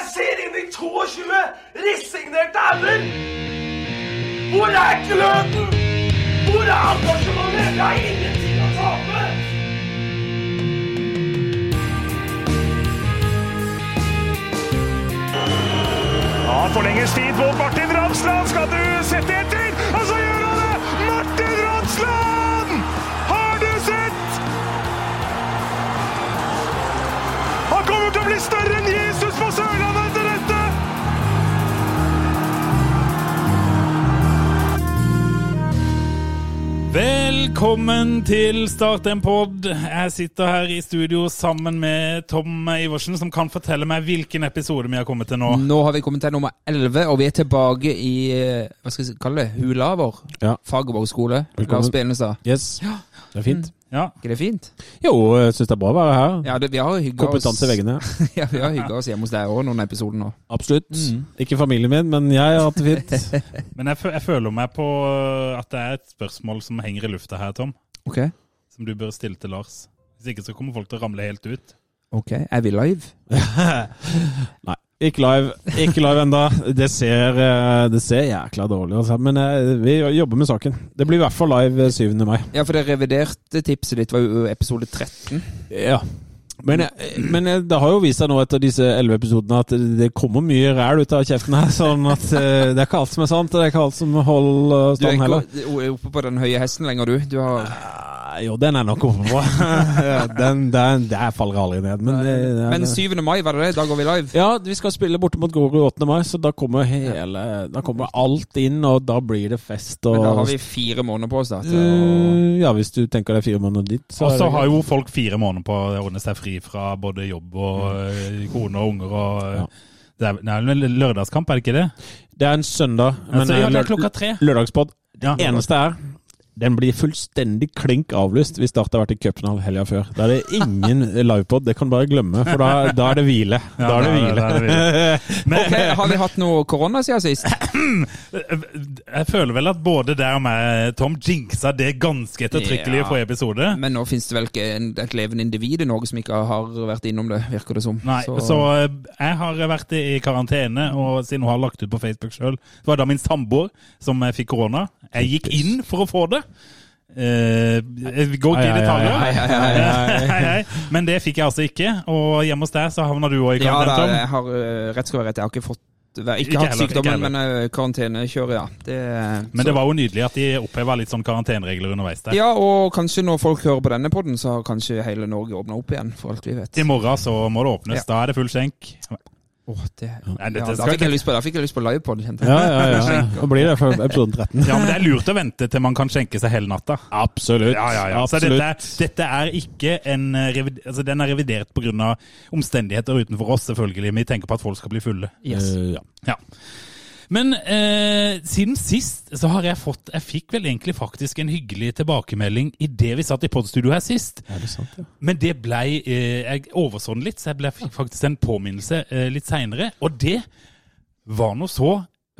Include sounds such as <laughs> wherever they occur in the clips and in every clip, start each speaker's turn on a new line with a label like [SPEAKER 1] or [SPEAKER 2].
[SPEAKER 1] avdeling 22! Resignerte hauger! Hvor er kløten? Hvor er engasjementet? Jeg har ingenting å tape!
[SPEAKER 2] Ja, forlenges tid på Martin Ramsland. Skal du sette etter? Og så gjør han det! Martin Ramsland! Har du sett? Han kommer til å bli større enn Jesus på Sørlandet etter dette!
[SPEAKER 3] Velkommen til Start en pod. Jeg sitter her i studio sammen med Tom Iversen, som kan fortelle meg hvilken episode vi har kommet til nå.
[SPEAKER 4] Nå har vi kommet til nummer 11, og vi er tilbake i eh, hva skal jeg kalle det, hula vår.
[SPEAKER 5] Ja.
[SPEAKER 4] Fagerborg skole.
[SPEAKER 5] Velkommen.
[SPEAKER 4] Lars Benestad.
[SPEAKER 5] Yes. Det er fint.
[SPEAKER 3] Ja,
[SPEAKER 4] Er ikke det fint?
[SPEAKER 5] Mm. Jo, jeg syns det er bra å være her.
[SPEAKER 4] Ja, det, vi har hygga oss,
[SPEAKER 5] Kompetanse i veggene.
[SPEAKER 4] <laughs> ja, vi har hygget oss hjemme hos deg òg noen episoder nå.
[SPEAKER 5] Absolutt. Ikke familien min, men jeg har hatt det fint. <laughs>
[SPEAKER 3] Men jeg, fø- jeg føler meg på øh, at det er et spørsmål som henger i lufta her, Tom.
[SPEAKER 4] Ok,
[SPEAKER 3] Som du bør stille til Lars. Hvis ikke så kommer folk til å ramle helt ut.
[SPEAKER 4] ok. Er vi live?
[SPEAKER 5] Nei, ikke live. Ikke live enda. Det ser, eh, det ser jækla dårlig ut, altså. men eh, vi jobber med saken. Det blir i hvert fall live eh, 7. mai.
[SPEAKER 4] Ja, for det reviderte tipset ditt var jo episode 13.
[SPEAKER 5] Ja. Men, eh, men eh, det har jo vist seg nå etter disse elleve episodene at det kommer mye ræl ut av kjeften her. Sånn at eh, det er ikke alt som er sant, og det er ikke alt som holder
[SPEAKER 4] Du er ikke
[SPEAKER 5] stand Sånn heller.
[SPEAKER 4] o- o- oppe på den høye hesten lenger, du. Du har
[SPEAKER 5] Nei, Jo, den er nok oppe på. <laughs> den, den, der faller jeg aldri ned. Men, eh, det, det,
[SPEAKER 4] Men 7. mai, var det det? Da går vi live?
[SPEAKER 5] Ja, vi skal spille borte mot Grorud 8. mai, så da kommer hele Da kommer alt inn, og da blir det fest og
[SPEAKER 4] Men da har vi fire måneder på oss, da. Til å...
[SPEAKER 5] Eh, Ja, hvis du tenker det er fire måneder dit, så
[SPEAKER 3] Og så
[SPEAKER 5] er det
[SPEAKER 3] har jo folk fire måneder på å ordne seg fri fra både jobb og øh, kone og unger og øh,
[SPEAKER 5] Mm. Ja.
[SPEAKER 3] Det er, det er vel en lørdagskamp, er det ikke det?
[SPEAKER 5] Det er en søndag, men
[SPEAKER 3] Altså, ja, det
[SPEAKER 5] lør-
[SPEAKER 3] er klokka tre.
[SPEAKER 5] lørdagspod. Det
[SPEAKER 3] Ja.
[SPEAKER 5] eneste er den blir fullstendig klink avlyst hvis Start har vært i cupfinalen helga før. Da er det ingen livepod, det kan du bare glemme, for da, da er det hvile. Da er det hvile.
[SPEAKER 3] da er det hvile. Men,
[SPEAKER 4] Ok, Har vi hatt noe korona siden sist?
[SPEAKER 3] Jeg føler vel at både deg og meg, Tom, jinxa det ganske ettertrykkelig i
[SPEAKER 4] Ja.
[SPEAKER 3] forrige episode.
[SPEAKER 4] Men nå finnes det vel ikke en, et levende individ i Norge som ikke har vært innom det, virker det som.
[SPEAKER 3] Nei, så, eh, jeg har vært i i karantene, og siden hun har lagt ut på Facebook sjøl Det var da min samboer som eh, fikk korona. Jeg gikk inn for å få det. Eh, vi går ikke i
[SPEAKER 5] Ai, ai,
[SPEAKER 4] Hei,
[SPEAKER 3] detaljer,
[SPEAKER 4] hei,
[SPEAKER 3] <laughs>
[SPEAKER 4] hei.
[SPEAKER 3] Hei, hei. men det fikk jeg altså ikke. Og hjemme hos deg så havna du òg i
[SPEAKER 4] Ja da,
[SPEAKER 3] karantene,
[SPEAKER 4] jeg har eh, rett skal være rett. Jeg har ikke fått ikke,
[SPEAKER 3] Ikke
[SPEAKER 4] hatt
[SPEAKER 3] heller, ikke
[SPEAKER 4] sykdommen,
[SPEAKER 3] heller.
[SPEAKER 4] men eh, karantenekjøret, ja. Det,
[SPEAKER 3] Tom. Men det var jo nydelig at de oppheva litt sånn karanteneregler underveis der.
[SPEAKER 4] ja, og kanskje når folk hører på denne podden, så har kanskje hele Norge åpna opp igjen, for alt vi vet.
[SPEAKER 3] I morgen så må det åpnes.
[SPEAKER 4] Ja.
[SPEAKER 3] Da er det full skjenk.
[SPEAKER 4] Åh, det,
[SPEAKER 3] Nei,
[SPEAKER 4] ja,
[SPEAKER 3] dette
[SPEAKER 4] da
[SPEAKER 3] skal
[SPEAKER 4] fikk
[SPEAKER 3] ikke-
[SPEAKER 4] jeg lyst på, da fikk jeg lyst på livepod. kjente jeg.
[SPEAKER 5] Ja, ja, ja. Nå blir det for episoden 13.
[SPEAKER 3] Ja, men det er lurt å vente til man kan skjenke seg hele natta.
[SPEAKER 5] Absolutt.
[SPEAKER 3] Ja, ja, ja. Så dette, er- dette er ikke en eh, revid- altså, Den er revidert pga. omstendigheter utenfor oss, selvfølgelig. Vi tenker på at folk skal bli fulle.
[SPEAKER 4] Yes.
[SPEAKER 5] Eh, ja.
[SPEAKER 3] Ja. Men eh, siden sist så har jeg fått Jeg fikk vel egentlig faktisk en hyggelig tilbakemelding i det vi satt i podstudio her sist.
[SPEAKER 5] Er det sant, ja?
[SPEAKER 3] Men det blei eh, Jeg overså den litt, så jeg ble, fikk faktisk en påminnelse eh, litt seinere. Og det var noe så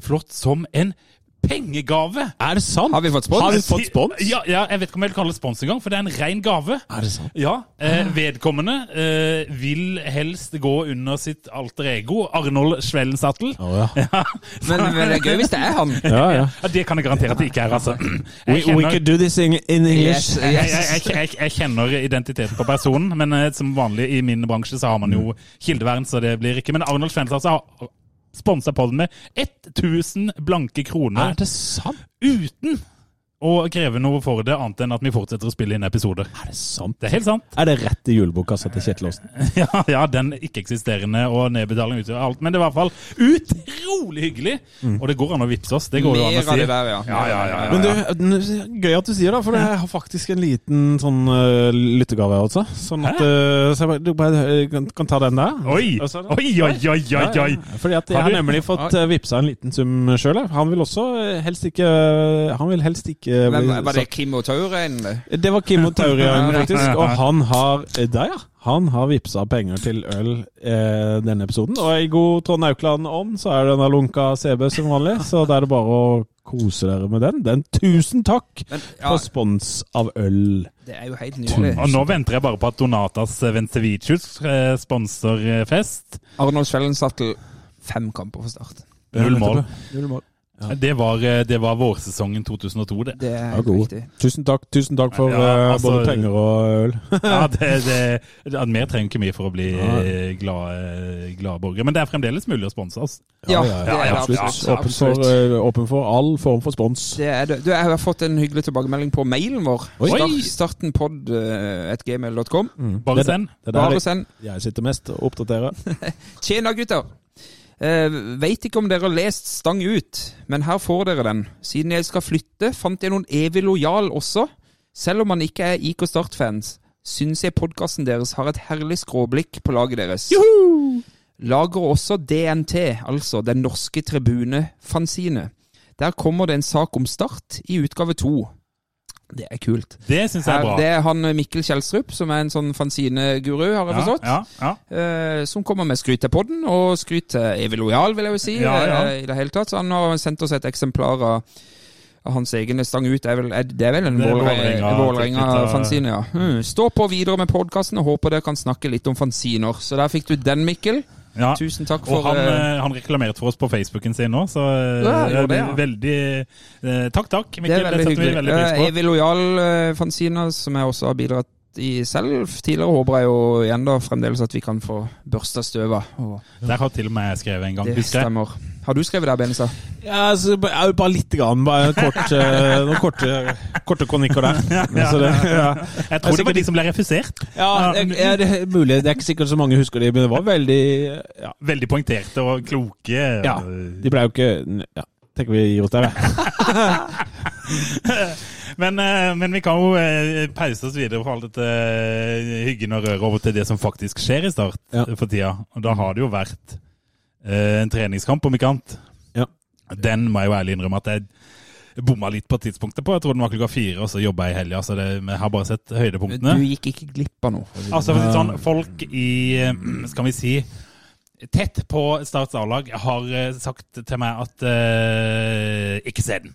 [SPEAKER 3] flott som en pengegave!
[SPEAKER 5] Er det sant?
[SPEAKER 4] Har vi fått spons?
[SPEAKER 5] Har vi fått spons?
[SPEAKER 3] Ja, ja, jeg vet ikke om jeg vil kalle det spons engang, for det er en rein gave.
[SPEAKER 5] Er det sant?
[SPEAKER 3] Ja, eh, vedkommende eh, vil helst gå under sitt alter ego, Arnold Svellensattel.
[SPEAKER 5] Å ja.
[SPEAKER 4] <laughs> Men, men det er gøy hvis det
[SPEAKER 3] <laughs>
[SPEAKER 4] er han.
[SPEAKER 5] ja, ja.
[SPEAKER 3] Ja, det kan jeg garantere at det ikke er, altså.
[SPEAKER 5] We,
[SPEAKER 3] <clears throat> Jeg kjenner, jeg,
[SPEAKER 5] do this in,
[SPEAKER 4] Yes,
[SPEAKER 3] jeg,
[SPEAKER 4] yes.
[SPEAKER 3] jeg, jeg kjenner identiteten på personen, men eh, som vanlig i min bransje så har man
[SPEAKER 4] Mm.
[SPEAKER 3] jo kildevern, så det blir ikke. Men Arnold Svensson har sponsa podden med 1000 blanke kroner
[SPEAKER 5] Er det sant?
[SPEAKER 3] uten å kreve noe for det, annet enn at vi fortsetter å spille inn episoder.
[SPEAKER 5] Er det sant?
[SPEAKER 3] Det er helt sant.
[SPEAKER 5] Er det rett i julebokassa til Kjetil Aasen?
[SPEAKER 3] <laughs> Ja, ja, den ikke-eksisterende og nedbetaling utgjør alt. Men det var i hvert fall utrolig hyggelig! Og det går an å vippse oss. Det går jo an å
[SPEAKER 4] Mer av
[SPEAKER 3] si.
[SPEAKER 4] det der, ja.
[SPEAKER 3] Ja, ja, ja, ja.
[SPEAKER 5] Men du, n- gøy at du sier det, for jeg har faktisk en liten sånn uh, lyttegave også. Sånn at, eh, så jeg bare, du bare eh, kan, kan ta den der.
[SPEAKER 3] Oi!
[SPEAKER 5] Og så-
[SPEAKER 3] Oi, oi, oi, oi!
[SPEAKER 5] Ja,
[SPEAKER 3] oi.
[SPEAKER 5] ja. Fordi at jeg
[SPEAKER 3] Har
[SPEAKER 5] har
[SPEAKER 3] du-
[SPEAKER 5] nemlig fått uh, vippsa en liten sum sjøl. Han vil også eh, helst ikke Han vil helst ikke bli
[SPEAKER 4] Hvem, var det
[SPEAKER 5] satt-
[SPEAKER 4] Kim og Tauren?
[SPEAKER 5] Det var Kim og Taurian,
[SPEAKER 4] Ja,
[SPEAKER 5] faktisk. Og han har eh, Der, ja. Han har vippsa penger til øl eh, denne episoden. Og i god Trond Aukland-ånd så er det en lunka CB som vanlig. Så da er det bare å kose dere med den. Den tusen takk
[SPEAKER 4] Men, ja,
[SPEAKER 5] for spons av øl.
[SPEAKER 4] det er jo helt nydelig.
[SPEAKER 3] Og nå venter jeg bare på at Donatas Vencevicius eh, sponser eh, fest.
[SPEAKER 4] Arnold Svellensattel fem kamper for Start.
[SPEAKER 3] Null mål.
[SPEAKER 5] Null mål.
[SPEAKER 3] Det var, eh, det var vårsesongen 2002,
[SPEAKER 4] <laughs>
[SPEAKER 3] det.
[SPEAKER 4] Det er
[SPEAKER 5] Ja,
[SPEAKER 4] helt
[SPEAKER 5] god.
[SPEAKER 4] riktig.
[SPEAKER 5] Tusen takk, tusen takk for
[SPEAKER 3] Ja,
[SPEAKER 5] eh,
[SPEAKER 3] altså-
[SPEAKER 5] både penger og øl.
[SPEAKER 3] Ja, det, det, det, mer trenger ikke mye for å bli
[SPEAKER 5] Nei.
[SPEAKER 3] eh, glade, glade borgere. Men det er fremdeles mulig å sponse oss.
[SPEAKER 4] <laughs> Ja,
[SPEAKER 5] ja, ja,
[SPEAKER 4] det er det
[SPEAKER 3] absolutt.
[SPEAKER 4] absolutt.
[SPEAKER 5] Åpen for,
[SPEAKER 4] absolutt.
[SPEAKER 5] eh, åpen for all form for spons.
[SPEAKER 4] Det er det. Du, jeg har fått en hyggelig tilbakemelding på mailen vår.
[SPEAKER 5] Oi. Mm.
[SPEAKER 4] Start, eh, Startenpod.gmail.com.
[SPEAKER 3] Bare send.
[SPEAKER 5] Det er
[SPEAKER 4] Bare
[SPEAKER 5] der
[SPEAKER 4] send.
[SPEAKER 5] jeg sitter mest og oppdaterer.
[SPEAKER 4] Tjena, gutter! Eh, Veit ikke om dere har lest Stang ut, men her får dere den. Siden jeg skal flytte, fant jeg noen evig lojal også. Selv om man ikke er IK Start-fans, syns jeg podkasten deres har et herlig skråblikk på laget deres. Lager også DNT, altså Den norske tribune-fanzine. Der kommer det en sak om Start i utgave to. Det er kult.
[SPEAKER 3] Det syns jeg er bra.
[SPEAKER 4] det er han eh, Mikkel Kjelstrup, som er en sånn fanzine-guru, har jeg forstått
[SPEAKER 3] Ja, ja,
[SPEAKER 4] eh, som kommer med skryt til podden, og skryt til Evil Lojal, vil jeg jo si.
[SPEAKER 3] Ja, ja.
[SPEAKER 4] eh, I det hele tatt. Så han har sendt oss et eksemplar av, av hans egne stang ut. Det er vel, er, det er vel en
[SPEAKER 3] Det er
[SPEAKER 4] Vålerenga-
[SPEAKER 3] Vålerenga-
[SPEAKER 4] Vålerenga-fanzine, ja. Hmm. Stå på videre med podkasten, og håper dere kan snakke litt om fanziner. Så der fikk du den, Mikkel.
[SPEAKER 3] ja. ja.
[SPEAKER 4] Tusen takk
[SPEAKER 3] Og
[SPEAKER 4] for
[SPEAKER 3] han,
[SPEAKER 4] eh,
[SPEAKER 3] eh, han reklamerte for oss på Facebooken sin nå, så eh,
[SPEAKER 4] Ja, han gjorde det, ja.
[SPEAKER 3] veldig eh, Takk, takk,
[SPEAKER 4] Det
[SPEAKER 3] Mikkel.
[SPEAKER 4] er
[SPEAKER 3] Det,
[SPEAKER 4] veldig
[SPEAKER 3] setter vi
[SPEAKER 4] hyggelig.
[SPEAKER 3] veldig
[SPEAKER 4] Eh,
[SPEAKER 3] pris på.
[SPEAKER 4] Evil Lojal-fanziner, som jeg også har bidratt i selv tidligere, håper jeg jo igjen da fremdeles at vi kan få børsta støva. Og
[SPEAKER 3] Der har til og med jeg skrevet en gang,
[SPEAKER 4] det
[SPEAKER 3] husker jeg.
[SPEAKER 4] stemmer. Har du skrevet det, Benestad?
[SPEAKER 5] Ja, altså, så ba- ja, bare litt grann. Bare kort, eh, noen korte, korte kronikker der. Så det, <laughs> ja.
[SPEAKER 3] Jeg tror det var de som ble refusert.
[SPEAKER 5] Ja, det, er det er mulig. Det er ikke sikkert så mange husker det, men det var veldig Ja.
[SPEAKER 3] Veldig poengterte og kloke.
[SPEAKER 5] ja. De ble jo ikke ja. Tenker vi gir oss der, vi.
[SPEAKER 3] Men, eh, men vi kan jo eh, pause oss videre fra all dette eh, hyggen og røret over til det som faktisk skjer i Start
[SPEAKER 5] Ja.
[SPEAKER 3] eh, for tida. Og da har det jo vært eh, en treningskamp, om ikke annet.
[SPEAKER 5] Ja.
[SPEAKER 3] Den må jeg jo ærlig innrømme at jeg bomma litt på tidspunktet på. Jeg tror den var klokka fire, og så jobba jeg i helga, så det, jeg har bare sett høydepunktene.
[SPEAKER 4] Du gikk ikke glipp av noe.
[SPEAKER 3] Altså, for å si det sånn, folk i eh, Skal vi si Tett på Starts A-lag har eh, sagt til meg at eh, Ikke se den.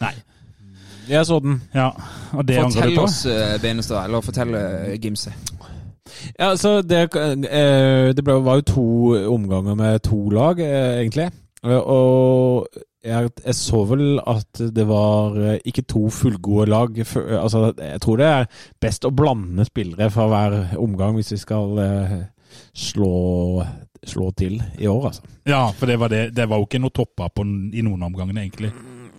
[SPEAKER 4] Nei.
[SPEAKER 5] Jeg så den.
[SPEAKER 3] Ja, og det angrer
[SPEAKER 4] Fortell
[SPEAKER 3] du på.
[SPEAKER 4] oss, eh, Benestad, eller fortell eh, Gimse.
[SPEAKER 5] Ja, så det, eh, det ble, var jo to omganger med to lag, eh, egentlig. Eh, Og jeg, jeg så vel at det var eh, ikke to fullgode lag. Fø- Altså, jeg tror det er best å blande spillere fra hver omgang hvis vi skal eh, slå, slå til i år, altså.
[SPEAKER 3] Ja, for det var, det, det var jo ikke noe toppa på n- i noen omgangene, egentlig.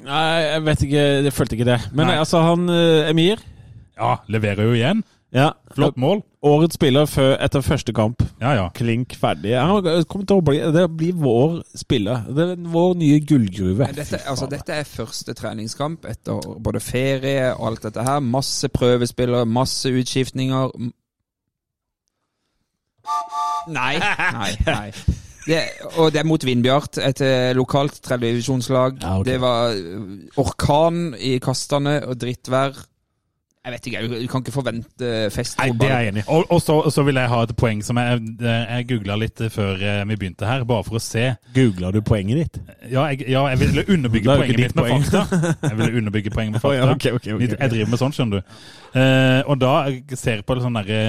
[SPEAKER 5] Nei, jeg vet ikke. Jeg følte ikke det. Men
[SPEAKER 3] Nei.
[SPEAKER 5] altså, han eh, Emir
[SPEAKER 3] Ja, leverer jo igjen.
[SPEAKER 5] ja,
[SPEAKER 3] Flott mål.
[SPEAKER 5] Årets spiller før, etter første kamp.
[SPEAKER 3] Ja, ja.
[SPEAKER 5] klink ferdig. Han kommer til å bli, det blir vår spiller. Det er vår nye gullgruve.
[SPEAKER 4] Men Dette, altså, dette er første treningskamp etter både ferie og alt dette her. Masse prøvespillere, masse utskiftninger. M- Nei, nei, nei. Det, og det er mot Vindbjart, et eh, lokalt tredjedivisjonslag.
[SPEAKER 5] Ja, ok.
[SPEAKER 4] Det var eh, orkan i kastene og drittvær. Jeg vet ikke, du kan ikke forvente eh, fest.
[SPEAKER 3] Nei, det er jeg enig i. Og, og, så, og så vil jeg ha et poeng som jeg, eh, jeg googla litt før eh, vi begynte her, bare for å se.
[SPEAKER 5] Googla du poenget ditt?
[SPEAKER 3] Ja, jeg, ja, jeg ville underbygge
[SPEAKER 5] Det er jo ikke
[SPEAKER 3] poenget mitt
[SPEAKER 5] ditt
[SPEAKER 3] med
[SPEAKER 5] poeng.
[SPEAKER 3] fakta. Jeg ville underbygge poenget med
[SPEAKER 5] <laughs>
[SPEAKER 3] fakta.
[SPEAKER 5] ja, ok, ok, ok.
[SPEAKER 3] Jeg- Jeg driver med sånn, skjønner du. Eh, og da jeg ser jeg på sånne der,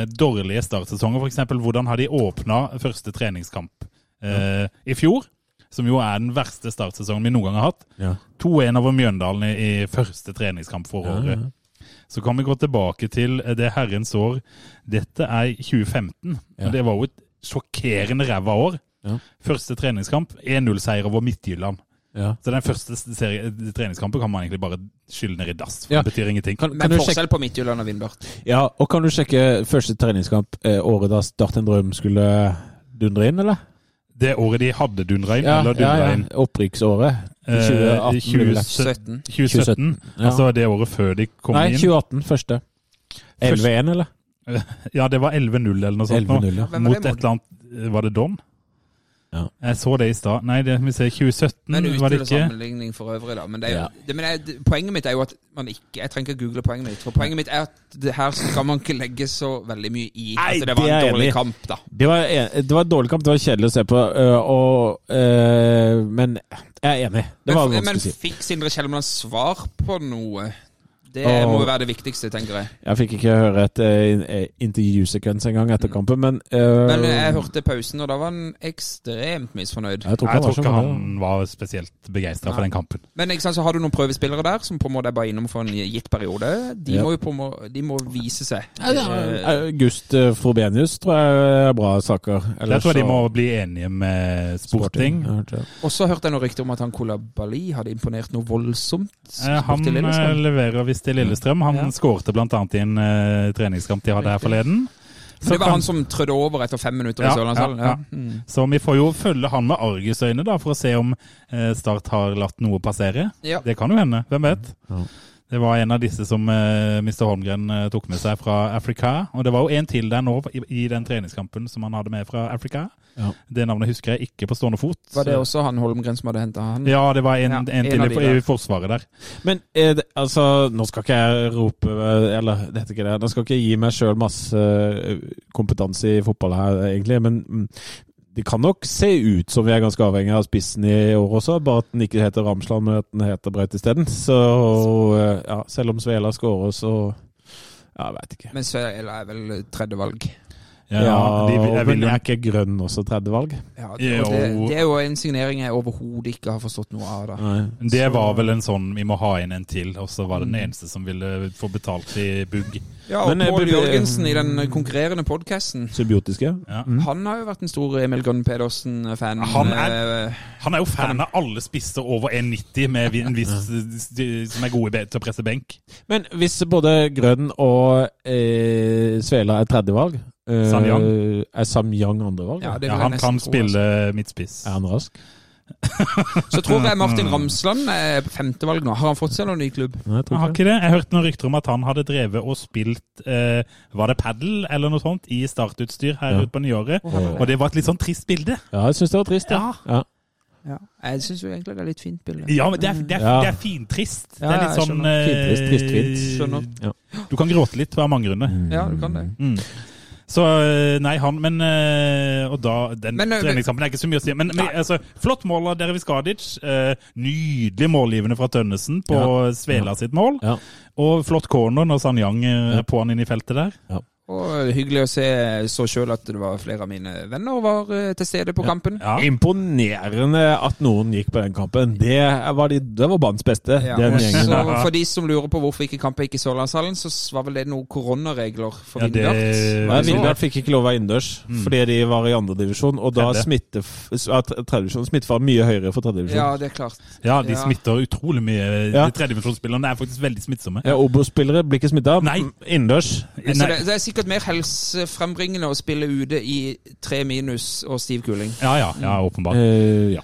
[SPEAKER 3] eh, dårlige startsesonger, f.eks. Hvordan har de åpna første treningskamp eh, i fjor? Som jo er den verste startsesongen vi noen gang har hatt.
[SPEAKER 5] <laughs> Ja.
[SPEAKER 3] 2-1 over Mjøndalen i, i første treningskamp for året. Så kan vi gå tilbake til eh, det herrens år. Dette er 2015.
[SPEAKER 5] Ja.
[SPEAKER 3] og Det var jo et sjokkerende ræva år.
[SPEAKER 5] Ja.
[SPEAKER 3] Første treningskamp 1-0-seier over Midtjylland.
[SPEAKER 5] Ja.
[SPEAKER 3] Så den første serie- eh, treningskampen kan man egentlig bare skylle ned i dass. For
[SPEAKER 5] Ja.
[SPEAKER 3] Det betyr ingenting.
[SPEAKER 5] Kan, kan
[SPEAKER 4] Men
[SPEAKER 5] du sjekke,
[SPEAKER 4] forskjell på Midtjylland og Vindbjart.
[SPEAKER 5] ja, og kan du sjekke første treningskamp eh, året da Start en drøm skulle dundre inn, eller?
[SPEAKER 3] Det året de hadde dundra inn, eller dundra inn
[SPEAKER 5] Opprykksåret.
[SPEAKER 3] Eh,
[SPEAKER 5] 2018. ble det lagt.
[SPEAKER 4] 17.
[SPEAKER 3] 2017,
[SPEAKER 5] 2017, ja.
[SPEAKER 3] altså det året før de kom
[SPEAKER 5] Nei,
[SPEAKER 3] inn.
[SPEAKER 5] 2018. Første. 11-1, eller?
[SPEAKER 3] Ja, det var 11-0 eller noe sånt. nå.
[SPEAKER 5] 11-0, ja.
[SPEAKER 4] Hvem var
[SPEAKER 3] Mot
[SPEAKER 4] det
[SPEAKER 3] et eller annet Var det Don?
[SPEAKER 5] Ja.
[SPEAKER 3] Jeg så det i stad. Nei, det, vi ser 2017
[SPEAKER 4] Men
[SPEAKER 5] Mm,
[SPEAKER 4] uten
[SPEAKER 3] var det ikke.
[SPEAKER 4] sammenligning for øvrig, da. Men, det er, jo-
[SPEAKER 5] Ja.
[SPEAKER 4] det, men jeg, poenget mitt er jo at man ikke Jeg trenger ikke google poenget mitt. For poenget mitt er at det her skal man ikke legge så veldig mye i
[SPEAKER 5] Nei,
[SPEAKER 4] at det var
[SPEAKER 5] det er
[SPEAKER 4] en
[SPEAKER 5] jeg enig
[SPEAKER 4] dårlig
[SPEAKER 5] i.
[SPEAKER 4] kamp, da.
[SPEAKER 5] Det var, en- det var et dårlig kamp, det var kjedelig å se på, øh, og, øh, men jeg er enig. Det var
[SPEAKER 4] men,
[SPEAKER 5] vanskelig å si.
[SPEAKER 4] men fikk Sindre Kjelmeland svar på noe? Det må jo
[SPEAKER 5] Og-
[SPEAKER 4] være det viktigste, tenker jeg.
[SPEAKER 5] Jeg fikk ikke høre et eh, intervjusekvens engang etter kampen, men, eh,
[SPEAKER 4] Mm. Men jeg hørte pausen, og da var han ekstremt misfornøyd.
[SPEAKER 5] jeg tror ikke
[SPEAKER 3] Jeg
[SPEAKER 5] han
[SPEAKER 3] tror
[SPEAKER 5] var så
[SPEAKER 3] ikke
[SPEAKER 5] gammel.
[SPEAKER 3] han var spesielt begeistra for den kampen.
[SPEAKER 4] Men ikke sant, så har du noen prøvespillere der som på en måte er bare innom for en gitt periode. De
[SPEAKER 5] Ja.
[SPEAKER 4] må jo på en må- de må vise seg. Eh,
[SPEAKER 5] August eh, Frobenius tror jeg er bra saker.
[SPEAKER 3] Jeg
[SPEAKER 5] Ellers
[SPEAKER 3] tror de
[SPEAKER 5] så-
[SPEAKER 3] må bli enige med Sporting. Eh,
[SPEAKER 5] Jeg hørte det.
[SPEAKER 4] Og så hørte jeg noen rykter om at han Kolabali hadde imponert noe voldsomt.
[SPEAKER 3] Eh, Han
[SPEAKER 4] bort til Lillestrøm.
[SPEAKER 3] eh, leverer visst til Lillestrøm. Han
[SPEAKER 4] Ja.
[SPEAKER 3] skårte bl.a. i en eh, treningskamp de hadde her forleden.
[SPEAKER 4] For
[SPEAKER 3] Så,
[SPEAKER 4] det var
[SPEAKER 3] kan-
[SPEAKER 4] han som trødde over etter fem minutter i
[SPEAKER 3] Ja,
[SPEAKER 4] Sørlandshallen.
[SPEAKER 3] ja, ja.
[SPEAKER 4] Ja, Mm.
[SPEAKER 3] så vi får jo følge han med argusøyne da, for å se om eh, Start har latt noe passere.
[SPEAKER 4] ja.
[SPEAKER 3] Det kan jo hende, hvem vet?
[SPEAKER 5] Ja.
[SPEAKER 3] Det var en av disse som eh, Mr. Holmgren eh, tok med seg fra Afrika. Og det var jo en til der nå i, i den treningskampen som han hadde med fra Afrika.
[SPEAKER 5] Ja.
[SPEAKER 3] Det navnet husker jeg ikke på stående fot.
[SPEAKER 4] Var det
[SPEAKER 3] Så-
[SPEAKER 4] også han Holmgren som hadde henta han?
[SPEAKER 3] Ja, det var en,
[SPEAKER 4] Ja,
[SPEAKER 3] en,
[SPEAKER 4] en
[SPEAKER 3] til
[SPEAKER 4] av
[SPEAKER 3] i,
[SPEAKER 4] de
[SPEAKER 3] for-
[SPEAKER 4] der.
[SPEAKER 3] i forsvaret der.
[SPEAKER 5] Men eh, det, altså, nå skal ikke jeg rope eh, Eller det heter ikke det. Nå skal ikke jeg gi meg sjøl masse eh, kompetanse i fotball her, eh, egentlig. Men mm, det kan nok se ut som vi er ganske avhengig av spissen i år også, bare at den ikke heter Ramsland, men at den heter Braut isteden. Så eh, ja, selv om Svela skårer, så Ja, jeg veit ikke.
[SPEAKER 4] Men Svela er vel tredje valg.
[SPEAKER 3] Ja, de, jeg vil
[SPEAKER 5] men
[SPEAKER 3] jo
[SPEAKER 5] er ikke grønn også 30 valg?
[SPEAKER 4] Ja, det, og
[SPEAKER 3] Jo.
[SPEAKER 4] det, det er jo en signering jeg overhodet ikke har forstått noe av. da.
[SPEAKER 5] Nei.
[SPEAKER 3] Det var vel en sånn vi må ha inn en til, og så var det den
[SPEAKER 5] Mm.
[SPEAKER 3] eneste som ville få betalt i bugg.
[SPEAKER 4] Ja, og
[SPEAKER 5] Men, eh, mm.
[SPEAKER 4] Pål
[SPEAKER 5] burde-
[SPEAKER 4] Jørgensen i den konkurrerende podkasten
[SPEAKER 5] Symbiotiske?
[SPEAKER 3] Ja.
[SPEAKER 4] Han har jo vært en stor Emil Gunn Pedersen-fan.
[SPEAKER 3] Mm. Han er-
[SPEAKER 4] eh,
[SPEAKER 3] Han er jo fan av alle spisser over 1,90 med vi- en viss de- som er gode i be- til å presse benk.
[SPEAKER 5] Men hvis både Grønn og eh, Svela er tredjevalg, eh,
[SPEAKER 3] Samyang?
[SPEAKER 5] er Samyang andrevalg?
[SPEAKER 4] Ja, det vil
[SPEAKER 3] Ja,
[SPEAKER 4] jeg
[SPEAKER 3] han
[SPEAKER 4] nesten altså.
[SPEAKER 3] kan
[SPEAKER 4] tro,
[SPEAKER 3] spille midtspiss.
[SPEAKER 5] Er han
[SPEAKER 4] altså.
[SPEAKER 5] rask?
[SPEAKER 4] Så
[SPEAKER 3] Mm.
[SPEAKER 4] tror jeg Martin Ramsland er på femtevalg nå. Har han fått seg noen ny klubb?
[SPEAKER 5] Nei, jeg
[SPEAKER 3] Jeg har ikke det. Jeg hørte noen rykter om at han hadde drevet og spilt eh, Var det padel eller noe sånt i startutstyr her
[SPEAKER 5] Ja.
[SPEAKER 3] ute på nyåret.
[SPEAKER 5] Åh.
[SPEAKER 3] Og det var et litt sånn trist bilde.
[SPEAKER 5] Ja, jeg syns det var trist. Ja. Ja.
[SPEAKER 4] Ja. Jeg syns jo egentlig det er litt fint bilde.
[SPEAKER 3] Ja, men det er, det er,
[SPEAKER 5] Ja.
[SPEAKER 3] det er fintrist. Det er
[SPEAKER 4] Ja,
[SPEAKER 3] litt
[SPEAKER 4] jeg
[SPEAKER 3] sånn
[SPEAKER 4] skjønner.
[SPEAKER 3] eh,
[SPEAKER 5] Fintrist, trist,
[SPEAKER 4] Skjønner.
[SPEAKER 3] Du kan gråte litt av mange grunner.
[SPEAKER 4] Ja, du kan det.
[SPEAKER 3] Mm. Så eh, nei, han Men eh, Og da Den
[SPEAKER 4] Men, eh,
[SPEAKER 3] treningskampen er ikke så mye å si. Men, men altså, flott mål av Dervis Gadic. Eh, nydelig målgivende fra Tønnesen på Svela sitt mål.
[SPEAKER 5] Ja.
[SPEAKER 3] Og flott corner når Sanyang eh, er på han inn i feltet der.
[SPEAKER 4] Og eh, hyggelig å se så sjøl at det var flere av mine venner var eh, til stede på kampen.
[SPEAKER 3] Ja.
[SPEAKER 5] Imponerende at noen gikk på den kampen. Det var, de, det var banens beste,
[SPEAKER 4] Ja,
[SPEAKER 5] den
[SPEAKER 4] og
[SPEAKER 5] gjengen.
[SPEAKER 4] så
[SPEAKER 5] der.
[SPEAKER 4] For de som lurer på hvorfor ikke kampen gikk i Sørlandshallen, så var vel det noen koronaregler for
[SPEAKER 3] Ja, Mm. det-
[SPEAKER 4] Vindart.
[SPEAKER 5] Nei,
[SPEAKER 4] Var det
[SPEAKER 5] Vindert fikk ikke lov å være innendørs fordi de var i andredivisjon. Og da
[SPEAKER 3] Tredje.
[SPEAKER 5] smitte, ja, tredjedivisjon smitte var mye høyere
[SPEAKER 4] så?
[SPEAKER 5] for tredjedivisjon.
[SPEAKER 4] Ja,
[SPEAKER 5] Ja.
[SPEAKER 4] det er klart.
[SPEAKER 3] Ja, de
[SPEAKER 4] Ja.
[SPEAKER 3] smitter utrolig mye. eh,
[SPEAKER 5] Ja.
[SPEAKER 3] De tredjedivisjonsspillerne er faktisk veldig smittsomme.
[SPEAKER 5] Ja, Obos-spillere blir ikke smitta.
[SPEAKER 3] Nei.
[SPEAKER 5] Innendørs.
[SPEAKER 4] Så
[SPEAKER 3] Nei.
[SPEAKER 4] det, det er sikkert mer helsefrembringende å spille ute i tre minus og stiv kuling.
[SPEAKER 3] Ja, ja, ja, åpenbart.
[SPEAKER 5] Eh, ja.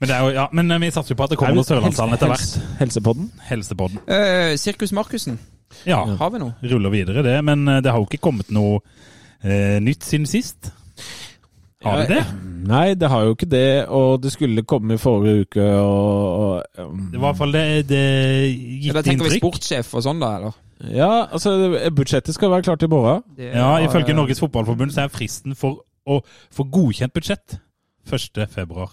[SPEAKER 3] Men, det er jo, ja, men eh, vi satser jo på at det kommer noe Sørlandshallen etter hvert.
[SPEAKER 5] Helse- Helsepodden.
[SPEAKER 3] Helsepodden.
[SPEAKER 4] Eh, Sirkus Markussen,
[SPEAKER 3] Ja,
[SPEAKER 4] har vi noe?
[SPEAKER 3] ruller videre det. Men eh, det har jo ikke kommet noe eh, nytt siden sist. Har det det?
[SPEAKER 5] Nei, det har jo ikke det, og det skulle komme i forrige uke, og, og um,
[SPEAKER 3] Det var i hvert fall det, det
[SPEAKER 4] Ja, da
[SPEAKER 3] gitt
[SPEAKER 4] tenker vi
[SPEAKER 3] inntrykk.
[SPEAKER 4] sportssjef og sånn, da, eller?
[SPEAKER 5] Ja, altså, det- budsjettet skal være klart i morgen.
[SPEAKER 4] Det
[SPEAKER 3] Ja,
[SPEAKER 4] var,
[SPEAKER 3] ifølge
[SPEAKER 4] eh,
[SPEAKER 3] Norges Fotballforbund så er fristen for å få godkjent budsjett 1. februar.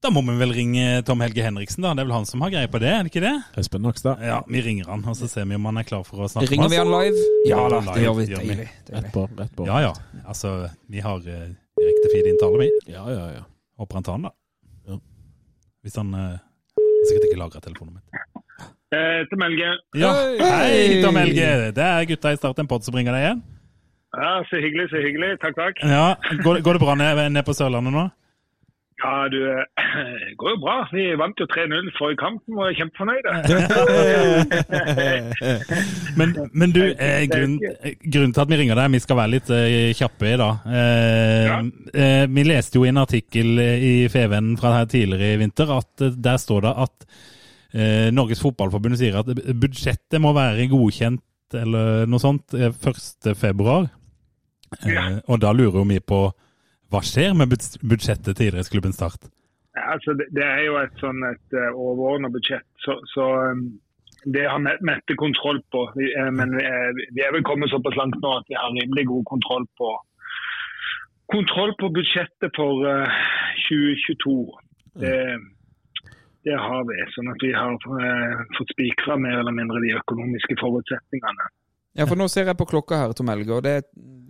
[SPEAKER 3] Da må vi vel ringe Tom Helge Henriksen, da. Det er vel han som har greie på det, er det ikke det?
[SPEAKER 5] Espen Nakstad.
[SPEAKER 3] Ja, vi ringer han, og så ser vi om han er klar for å snakke
[SPEAKER 4] eh, Ringer
[SPEAKER 3] med
[SPEAKER 4] vi han
[SPEAKER 3] oss.
[SPEAKER 4] live?
[SPEAKER 3] Ja,
[SPEAKER 4] da,
[SPEAKER 3] live
[SPEAKER 4] det gjør vi.
[SPEAKER 3] gjør vi.
[SPEAKER 4] Deilig.
[SPEAKER 5] Rett
[SPEAKER 4] deilig.
[SPEAKER 5] på. rett på.
[SPEAKER 3] Ja, ja. Altså, vi har eh, direkte feed inn til alle, vi.
[SPEAKER 5] ja, ja, ja.
[SPEAKER 3] Håper han tar den, da.
[SPEAKER 5] Ja.
[SPEAKER 3] Hvis han eh, har sikkert ikke lagra telefonen min.
[SPEAKER 6] Eh, til Melge.
[SPEAKER 3] Ja,
[SPEAKER 4] Hei!
[SPEAKER 3] Hei, Tom Helge! Det er gutta i Start en pod som ringer deg igjen.
[SPEAKER 6] Ja, Så hyggelig, så hyggelig. Takk, takk.
[SPEAKER 3] Ja, Går, går det bra ned, ned på Sørlandet nå?
[SPEAKER 6] Ja, du eh, går jo bra. Vi vant jo 3-0 forrige kampen og er kjempefornøyde.
[SPEAKER 3] Men, men du, eh, grunn, eh, grunnen til at vi ringer deg, vi skal være litt eh, kjappe i dag. Eh, eh, vi leste jo i en artikkel eh, i Feven fra her tidligere i vinter at eh, der står det at eh, Norges Fotballforbund sier at budsjettet må være godkjent eller noe sånt eh, 1. februar. Eh,
[SPEAKER 6] Ja.
[SPEAKER 3] Og da lurer jo vi på hva skjer med buds- budsjettet til idrettsklubben Start?
[SPEAKER 6] Ja, altså, det, det er jo et sånn et eh, overordnet budsjett, så, så eh, det har Met- Mette kontroll på. Vi, eh, men vi er, vi er vel kommet såpass langt nå at vi har rimelig god kontroll på kontroll på budsjettet for eh, 2022. Det, Det har vi. Sånn at vi har eh, fått spikra mer eller mindre de økonomiske forutsetningene.
[SPEAKER 4] Ja, for nå ser jeg på klokka her, Tom Helge, og det er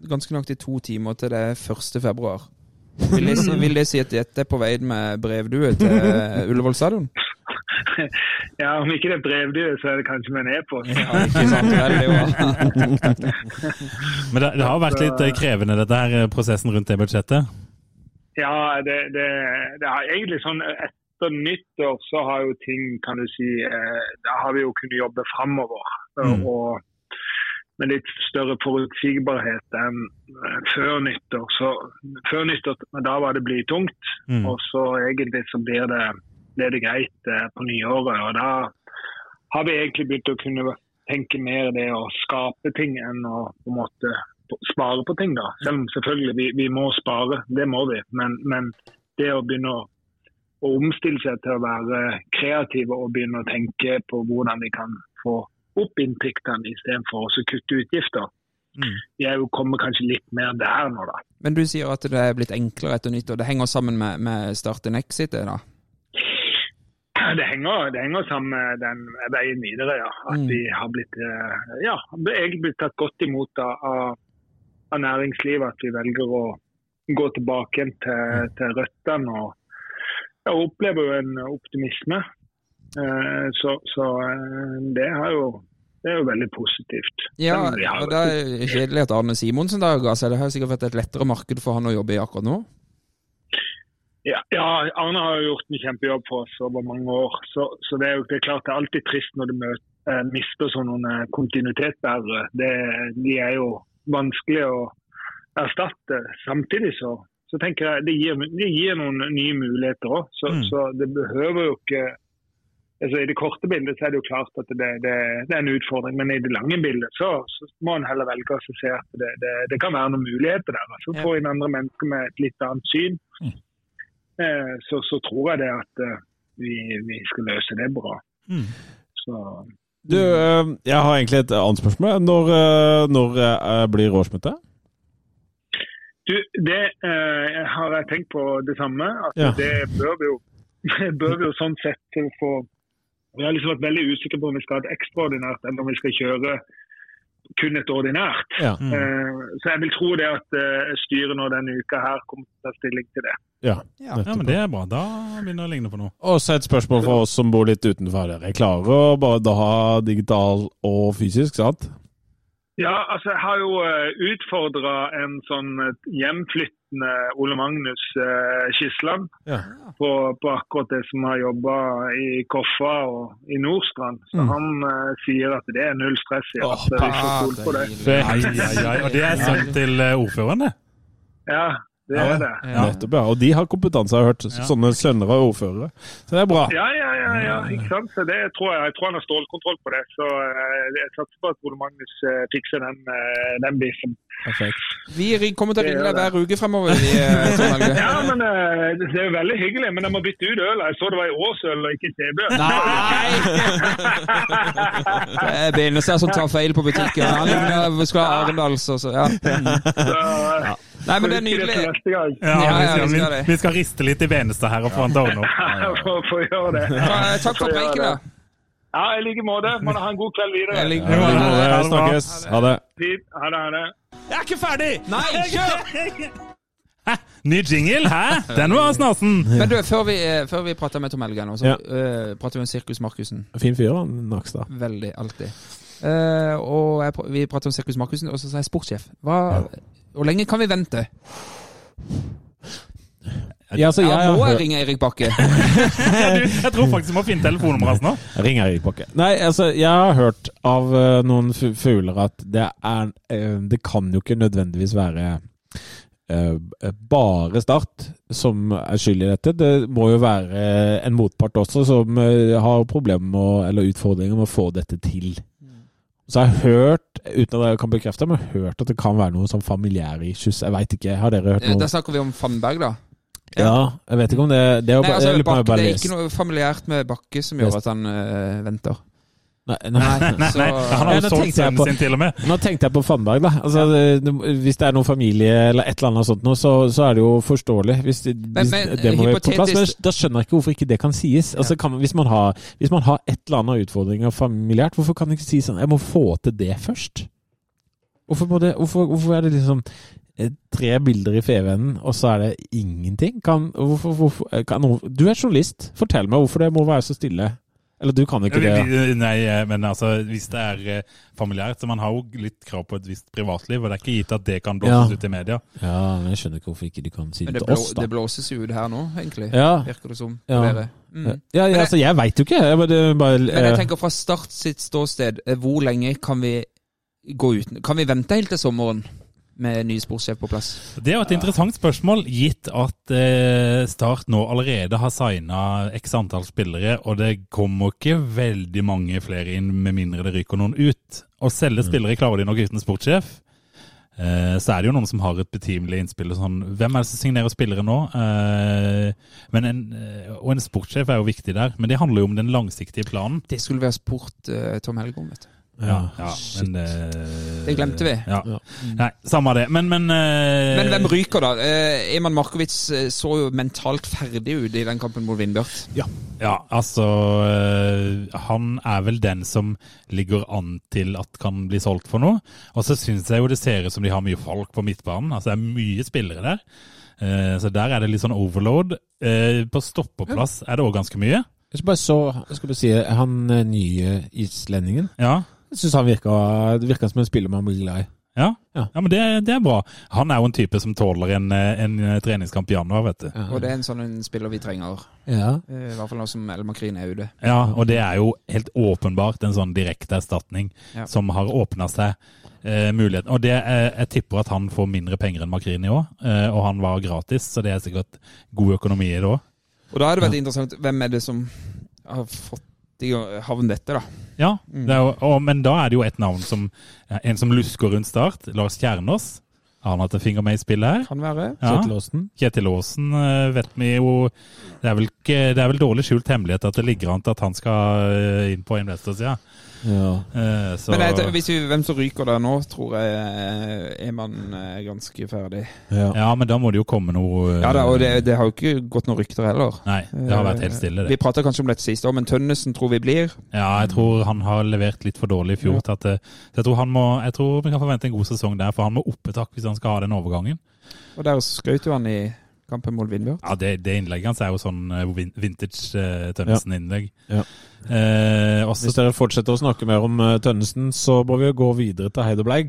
[SPEAKER 4] ganske nøyaktig to timer til det er 1. februar. Vil det,
[SPEAKER 6] <laughs>
[SPEAKER 4] si- vil det si at dette er på vei med brevdue til eh, Ullevål
[SPEAKER 6] <laughs>
[SPEAKER 4] stadion?
[SPEAKER 6] Ja, Om ikke det er brevdyr, så er det kanskje med en e-post.
[SPEAKER 4] Ja, ikke sant? Veldig bra.
[SPEAKER 3] Men det, det har vært litt eh, krevende, dette her, eh, prosessen rundt det budsjettet.
[SPEAKER 6] Ja, det, det, det er egentlig sånn etter nyttår så har jo ting, kan du si eh, Da har vi jo kunnet jobbe framover.
[SPEAKER 3] Mm.
[SPEAKER 6] Og med litt større forutsigbarhet enn eh, før nyttår. Så før nyttår, men da var det blytungt.
[SPEAKER 3] Mm.
[SPEAKER 6] Og så egentlig så blir det, blir det greit eh, på nyåret. Og da har vi egentlig begynt å kunne tenke mer det å skape ting enn å på en måte spare på ting, da. Selv om selvfølgelig vi, vi må spare, det må vi. Men, men det å begynne å, å omstille seg til å være kreative og begynne å tenke på hvordan vi kan få opp inntektene istedenfor å så kutte utgifter.
[SPEAKER 3] Mm.
[SPEAKER 6] Vi er jo kommet kanskje litt mer der nå, da.
[SPEAKER 4] <laughs> Men du sier at det er blitt enklere etter nyttår. Det henger sammen med, med Start and Exit, det da?
[SPEAKER 6] Det henger, det henger sammen med den veien videre, ja. At
[SPEAKER 4] Mm.
[SPEAKER 6] vi har blitt, eh, ja, det er egentlig blitt tatt godt imot av, av- av næringslivet. At vi velger å gå tilbake igjen til, til røttene. Og jeg opplever jo en optimisme. Eh, Så, så eh, det, har jo, det er jo veldig positivt.
[SPEAKER 4] Ja,
[SPEAKER 6] Selv om vi har-
[SPEAKER 4] og det er kjedelig at Arne Simonsen da ga seg. Det har sikkert vært et lettere marked for han å jobbe i akkurat nå.
[SPEAKER 6] Ja, ja, Arne har jo gjort en kjempejobb for oss over mange år. Så, så det, er jo, det er klart det er alltid trist når du møter, eh, mister sånne kontinuitetsbærere. Det, de er jo vanskelig å erstatte. Samtidig så, så tenker jeg det gir, det gir noen nye muligheter òg. Så,
[SPEAKER 3] Mm.
[SPEAKER 6] så det behøver jo ikke altså I det korte bildet så er det jo klart at det, det, det er en utfordring, men i det lange bildet så, så må en heller velge å se at det, det, det kan være noen muligheter der. Altså,
[SPEAKER 4] Ja.
[SPEAKER 6] Få inn andre mennesker med et litt annet syn. Eh, så, så tror jeg det at eh, vi, vi skal løse det bra.
[SPEAKER 3] Mm.
[SPEAKER 6] Så,
[SPEAKER 5] Du, eh, jeg har egentlig et annet spørsmål. Når, eh, når eh, blir årsmøtet?
[SPEAKER 6] du, det eh, har jeg tenkt på det samme. At
[SPEAKER 5] Ja.
[SPEAKER 6] Det bør vi, jo, <laughs> bør vi jo sånn sett til å få Vi har liksom vært veldig usikre på om vi skal ha et ekstraordinært eller om vi skal kjøre kun et ordinært.
[SPEAKER 5] Ja.
[SPEAKER 6] Eh, så jeg vil tro det at eh, styret nå denne uka her kommer til å ta stilling til det.
[SPEAKER 5] Ja.
[SPEAKER 4] Ja.
[SPEAKER 3] Ja, men det er bra. Da begynner det å ligne på noe.
[SPEAKER 5] Og så et spørsmål for oss som bor litt utenfor her. Jeg klarer å bare da ha digital og fysisk, sant?
[SPEAKER 6] Ja, altså jeg har jo utfordra en sånn eh, hjemflyttende Ole Magnus eh, Skisland.
[SPEAKER 5] Ja.
[SPEAKER 6] på, på akkurat det som har jobba i Koffa og i Nordstrand. Så han eh, sier at det er null stress i at vi får stole på det.
[SPEAKER 3] Ai, ai, ai. Og det er sønnen til eh, ordføreren, det.
[SPEAKER 6] Ja, det er det.
[SPEAKER 4] Ja.
[SPEAKER 5] Nettopp, ja. Og de har kompetanse, har jeg hørt.
[SPEAKER 3] Ja.
[SPEAKER 5] Sånne sønner av ordførere. Så det er bra.
[SPEAKER 6] Ja, ja, ja, ja, ikke sant? Så det tror jeg, jeg tror han har stålkontroll på det. Så eh, jeg satser på at Ole Magnus eh, fikser den, eh, den biffen.
[SPEAKER 5] Perfekt.
[SPEAKER 4] Vi ring- kommer til å ringe deg
[SPEAKER 6] Det gjør det.
[SPEAKER 4] hver uke fremover. Vi, eh, Tom
[SPEAKER 6] <laughs>
[SPEAKER 4] Helge.
[SPEAKER 6] Ja, men eh, det er jo veldig hyggelig, men jeg må bytte ut øl. Jeg så det var i Åsøl og ikke i Sebø.
[SPEAKER 4] Nei! Det er Benestad som tar feil på butikken. Han ligner- vi skal ha Arendal, så, så ja. Mm.
[SPEAKER 6] Så, eh,
[SPEAKER 4] Nei, men det er
[SPEAKER 6] får vi si det
[SPEAKER 4] nydelig.
[SPEAKER 6] til neste gang.
[SPEAKER 3] Ja, vi,
[SPEAKER 4] Ja, ja, vi skal
[SPEAKER 3] skal, vi,
[SPEAKER 4] det.
[SPEAKER 3] vi skal riste litt i Benestad her og få han til å ordne opp.
[SPEAKER 6] <laughs> Får- får gjøre det.
[SPEAKER 4] Eh, Takk for
[SPEAKER 6] Får gjøre
[SPEAKER 4] preiken, da.
[SPEAKER 6] det. Ja, i like måte. Må du ha en god kveld videre.
[SPEAKER 4] Jeg ligger-
[SPEAKER 5] Ja, vi må det.
[SPEAKER 3] Ha det bra.
[SPEAKER 5] Snakkes. Ha det.
[SPEAKER 6] Fint. Ha det, ha det.
[SPEAKER 3] Jeg er ikke ferdig!
[SPEAKER 4] Nei, kjør!
[SPEAKER 3] Hæ? Ny jingle? Hæ? Den var snasen!
[SPEAKER 4] Men du, før vi, eh, før vi prater med Tom Helge nå, så
[SPEAKER 5] Ja.
[SPEAKER 4] eh, prater vi om Sirkus Markussen.
[SPEAKER 5] Fin fyr, han Nakstad.
[SPEAKER 4] Veldig, alltid. Eh, og jeg, pr- vi prater om Sirkus Markussen, og så sa jeg sportssjef. Hva, Hvor lenge kan vi vente?
[SPEAKER 5] Ja, altså, jeg,
[SPEAKER 4] Ja,
[SPEAKER 5] har
[SPEAKER 4] må jeg
[SPEAKER 5] hørt-
[SPEAKER 4] ringe Erik Bakke?
[SPEAKER 3] Du, jeg tror faktisk vi må finne telefonnummeret hans nå.
[SPEAKER 5] Ring Erik Bakke. Nei, altså, jeg har hørt av eh, noen fu- fugler at det er eh, Det kan jo ikke nødvendigvis være eh, bare Start som er skyld i dette. Det må jo være en motpart også som eh, har problemer med å, eller utfordringer med å få dette til. Så jeg har hørt, uten at jeg kan bekrefte, men jeg har hørt at det kan være noe sånn familiære issues. Jeg veit ikke. Har dere hørt
[SPEAKER 4] Eh, Da
[SPEAKER 5] noe?
[SPEAKER 4] snakker vi om Fannberg, da.
[SPEAKER 5] Ja, jeg vet ikke om det Det er jo
[SPEAKER 4] Nei,
[SPEAKER 5] bare,
[SPEAKER 4] altså,
[SPEAKER 5] jeg lurer på om jeg
[SPEAKER 4] Bakke,
[SPEAKER 5] bare
[SPEAKER 4] det
[SPEAKER 5] har
[SPEAKER 4] er
[SPEAKER 5] lest.
[SPEAKER 4] ikke noe familiært med Bakke som gjør at han eh, venter.
[SPEAKER 5] Nei, nei.
[SPEAKER 3] Nei, nei, han har
[SPEAKER 5] Ja,
[SPEAKER 3] jo
[SPEAKER 5] nå
[SPEAKER 3] solgt
[SPEAKER 5] tenkte jeg
[SPEAKER 3] sønnen
[SPEAKER 5] på-
[SPEAKER 3] sin til og med.
[SPEAKER 5] Nå tenkte jeg på Fannberg, da. Altså, det- Hvis det er noen familie eller et eller annet sånt noe, så, så er det jo forståelig. Hvis det, hvis
[SPEAKER 4] men,
[SPEAKER 5] det må være på plass. Men
[SPEAKER 4] hypotetisk-
[SPEAKER 5] da skjønner jeg ikke hvorfor ikke det kan sies. Altså, kan, man- hvis, man har, hvis man har et eller annet utfordringer familiært, hvorfor kan det ikke sies sånn Jeg må få til det først. Hvorfor, må det, hvorfor, hvorfor er det liksom eh, tre bilder i Fevennen, og så er det ingenting? Kan, hvorfor, hvorfor, eh, kan noen, du er journalist. Fortell meg hvorfor det må være så stille. Eller du kan jo ikke det. ja.
[SPEAKER 3] Nei, eh, men altså, hvis det er eh, familiært, så man har jo litt krav på et visst privatliv, og det er ikke gitt at det kan blåses
[SPEAKER 5] Ja.
[SPEAKER 3] ut i media.
[SPEAKER 5] Ja, men jeg skjønner ikke hvorfor ikke du kan si
[SPEAKER 4] Men
[SPEAKER 5] det
[SPEAKER 4] det,
[SPEAKER 5] til
[SPEAKER 4] blå,
[SPEAKER 5] oss, da.
[SPEAKER 4] det blåses jo ut her nå, egentlig.
[SPEAKER 5] Ja.
[SPEAKER 4] Virker det som.
[SPEAKER 5] Ja.
[SPEAKER 4] Flere. Mm.
[SPEAKER 5] Ja, ja,
[SPEAKER 4] jeg-
[SPEAKER 5] altså, jeg veit jo ikke. Jeg bare, bare,
[SPEAKER 4] Men jeg
[SPEAKER 5] eh,
[SPEAKER 4] tenker fra Start sitt ståsted, eh, hvor lenge kan vi gå uten Kan vi vente helt til sommeren med ny sportssjef på plass?
[SPEAKER 3] Det er jo et interessant spørsmål, gitt at eh, Start nå allerede har signa x antall spillere, og det kommer ikke veldig mange flere inn, med mindre det ryker noen ut. Å
[SPEAKER 4] Mm.
[SPEAKER 3] selge spillere klarer de nok uten sportssjef. Eh, så er det jo noen som har et betimelig innspill. og Sånn, hvem er det som signerer spillere nå? Eh, men en, eh, og en sportssjef er jo viktig der, men det handler jo om den langsiktige planen.
[SPEAKER 4] Det skulle vi ha spurt eh, Tom Helge om, vet du.
[SPEAKER 5] ja.
[SPEAKER 3] Ja,
[SPEAKER 5] shit.
[SPEAKER 3] men, eh,
[SPEAKER 4] Det glemte vi.
[SPEAKER 3] Ja.
[SPEAKER 5] Ja.
[SPEAKER 3] Nei, samme det. Men, men, eh,
[SPEAKER 4] Men hvem ryker, da? Eh, Eman Markovic eh, så jo mentalt ferdig ut i den kampen mot Vindbjart.
[SPEAKER 3] Ja, altså øh, Han er vel den som ligger an til at kan bli solgt for noe. Og så syns jeg jo det ser ut som de har mye folk på midtbanen. Altså det er mye spillere der. Eh, så der er det litt sånn overload. Eh, på stoppeplass er det òg ganske mye.
[SPEAKER 5] Jeg skal bare så, jeg skal bare si, han eh, nye islendingen
[SPEAKER 3] Ja,
[SPEAKER 5] Jeg syns han virka, det virka som en spiller man blir glad i.
[SPEAKER 3] ja.
[SPEAKER 5] Ja.
[SPEAKER 3] ja men det, det er bra. Han er jo en type som tåler en, eh, en treningskamp i januar, vet du.
[SPEAKER 4] Og det er en sånn en spiller vi trenger.
[SPEAKER 5] Ja.
[SPEAKER 4] Eh, I hvert fall nå som El Makrin er ute.
[SPEAKER 3] Ja, og det er jo helt åpenbart en sånn direkte erstatning
[SPEAKER 4] Ja.
[SPEAKER 3] som har åpna seg eh, muligheten. Og det, eh, jeg tipper at han får mindre penger enn Makrini òg, eh, og han var gratis, så det er sikkert god økonomi i det òg.
[SPEAKER 4] Og da hadde det vært interessant Hvem er det som har fått i havn dette, da?
[SPEAKER 3] Ja,
[SPEAKER 4] Mm.
[SPEAKER 3] det er jo, og, men da er det jo et navn som eh, En som lusker rundt start, Lars Kjernås. Har han hatt en finger med i spillet her?
[SPEAKER 4] Kan være.
[SPEAKER 3] Ja.
[SPEAKER 5] Kjetil Aasen.
[SPEAKER 3] Kjetil Aasen eh, vet vi jo det er, vel ikke, det er vel dårlig skjult hemmelighet at det ligger an til at han skal eh, inn på investorsida.
[SPEAKER 5] Ja.
[SPEAKER 3] Eh, så-
[SPEAKER 4] Men jeg, tenker- hvis vi, hvem som ryker der nå, tror jeg er man eh, ganske ferdig.
[SPEAKER 5] Ja.
[SPEAKER 3] Ja, men da må det jo komme noe eh,
[SPEAKER 4] Ja da, og det, det har jo ikke gått noen rykter heller.
[SPEAKER 3] Nei, det har vært helt
[SPEAKER 5] Eh,
[SPEAKER 3] stille,
[SPEAKER 4] Vi
[SPEAKER 3] det.
[SPEAKER 4] prata kanskje om dette siste år, men Tønnesen tror vi blir.
[SPEAKER 3] Ja, jeg tror han har levert litt for dårlig i fjor.
[SPEAKER 4] Ja.
[SPEAKER 3] Til at, eh, så jeg tror, han må, jeg tror vi kan forvente en god sesong der, for han må opp et hakk hvis han skal ha den overgangen.
[SPEAKER 4] Og der skøyt jo han i kampen mot Vindbjørn.
[SPEAKER 3] Ja, Det, det innlegget hans er jo sånn eh, vin- vintage eh, Tønnesen-innlegg.
[SPEAKER 5] Ja.
[SPEAKER 3] Eh, også-
[SPEAKER 5] Hvis dere fortsetter å snakke mer om eh, Tønnesen, så må vi jo gå videre til <laughs> Heidebleig.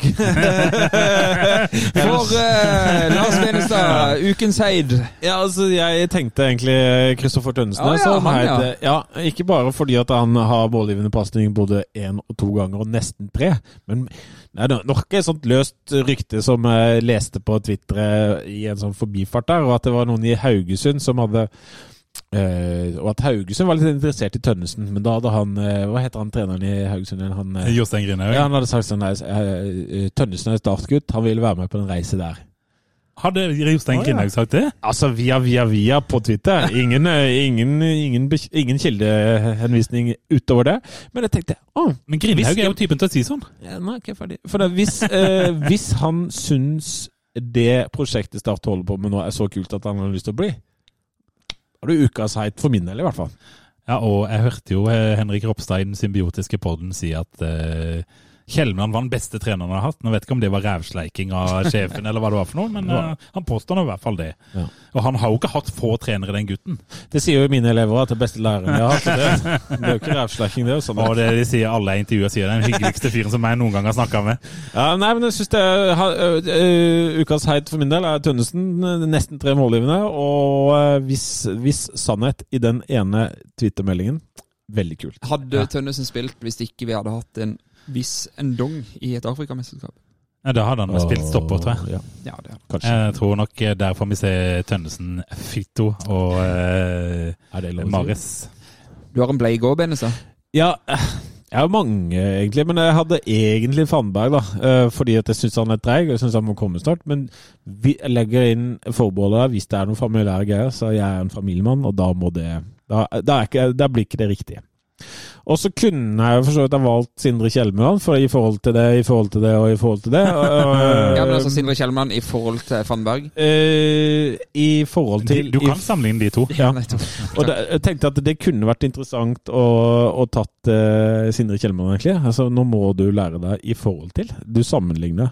[SPEAKER 4] For eh, Lars Benestad, <laughs> ukens heid.
[SPEAKER 5] Ja, altså, jeg tenkte egentlig Kristoffer Tønnesen.
[SPEAKER 4] Ah, ja,
[SPEAKER 5] som
[SPEAKER 4] han, ja.
[SPEAKER 5] heide- ja, ikke bare fordi at han har målgivende pasning både én og to ganger, og nesten tre. Men det er nok et sånt løst rykte som jeg leste på Twitter eh, i en sånn forbifart der, og at det var noen i Haugesund som hadde eh, og at Haugesund var litt interessert i Tønnesen, men da hadde han eh, Hva heter han treneren i Haugesund igjen? Han, eh,
[SPEAKER 3] Jostein Grinaug.
[SPEAKER 5] ja, han hadde sagt sånn eh, Tønnesen er startgutt, han vil være med på den reise der.
[SPEAKER 3] Hadde Jostein
[SPEAKER 5] Å, ja.
[SPEAKER 3] Grinaug sagt det?
[SPEAKER 5] Altså via, via, via på Twitter. Ingen, eh, ingen, ingen, bek- ingen kildehenvisning utover det. Men jeg tenkte å,
[SPEAKER 3] Men Grinaug
[SPEAKER 5] Hvis-
[SPEAKER 3] er jo typen til å si sånn.
[SPEAKER 5] ja, nå er ikke jeg ferdig. For da, hvis, eh, hvis han syns det prosjektet Start holder på med nå, er så kult at han har lyst til å bli, har du ukas heit for min del, i hvert fall.
[SPEAKER 3] Ja, og jeg hørte jo eh, Henrik Ropstad i den symbiotiske podden si at eh, Kjellmann var den beste treneren han har hatt. Nå vet jeg ikke om det var rævsleiking
[SPEAKER 5] <laughs>
[SPEAKER 3] av sjefen, eller hva det var for noe, men eh, han påstår nå i hvert fall det.
[SPEAKER 5] Ja.
[SPEAKER 3] Og han har jo ikke hatt få trenere, den gutten.
[SPEAKER 5] Det sier jo mine elever at det beste læreren jeg har hatt. så Det, det er jo ikke rævslekking, det. er jo Sånn.
[SPEAKER 3] Og det de sier alle jeg intervjuer, sier det er den hyggeligste fyren som jeg noen gang har snakka med.
[SPEAKER 5] Ja, nei, men jeg synes det er, ha- ø, ø, Ukas heit for min del er Tønnesen. ø, Nesten tre målgivende. Og ø, hvis, hvis sannhet i den ene twittermeldingen. Veldig kult.
[SPEAKER 4] Hadde Tønnesen spilt hvis ikke vi hadde hatt en viss endong i et Afrikamesterskap?
[SPEAKER 3] Ja, da hadde han vel spilt stopper, tror jeg.
[SPEAKER 5] Ja,
[SPEAKER 4] Ja, det hadde
[SPEAKER 5] kanskje.
[SPEAKER 3] Jeg tror nok eh, der får vi se Tønnesen, Fito og eh,
[SPEAKER 5] er det lov å si?
[SPEAKER 3] Mares.
[SPEAKER 4] Du har en bleig òg, Benestad.
[SPEAKER 5] Ja, eh, jeg har mange, egentlig. Men jeg hadde egentlig Fannberg, da. eh, Fordi at jeg syns han er treig, og jeg syns han må komme snart. Men vi jeg legger inn forbeholdet der hvis det er noen familiære greier. Så jeg er en familiemann, og da må det Da, da, er ikke, da blir ikke det riktige. Og så kunne jeg jo for så vidt ha valgt Sindre Kjelmeland, for i forhold til det, i forhold til det og i forhold til det. og-
[SPEAKER 4] Ja, men altså Sindre Kjellmann i forhold til Fannberg.
[SPEAKER 5] Eh, I forhold
[SPEAKER 3] De,
[SPEAKER 5] til
[SPEAKER 3] du
[SPEAKER 5] i
[SPEAKER 3] kan sammenligne de to.
[SPEAKER 5] Ja.
[SPEAKER 4] Nettopp.
[SPEAKER 5] Og det, jeg tenkte at det kunne vært interessant å, å tatt eh, Sindre Kjellmann, egentlig. Altså, nå må du lære deg i forhold til. Du sammenligner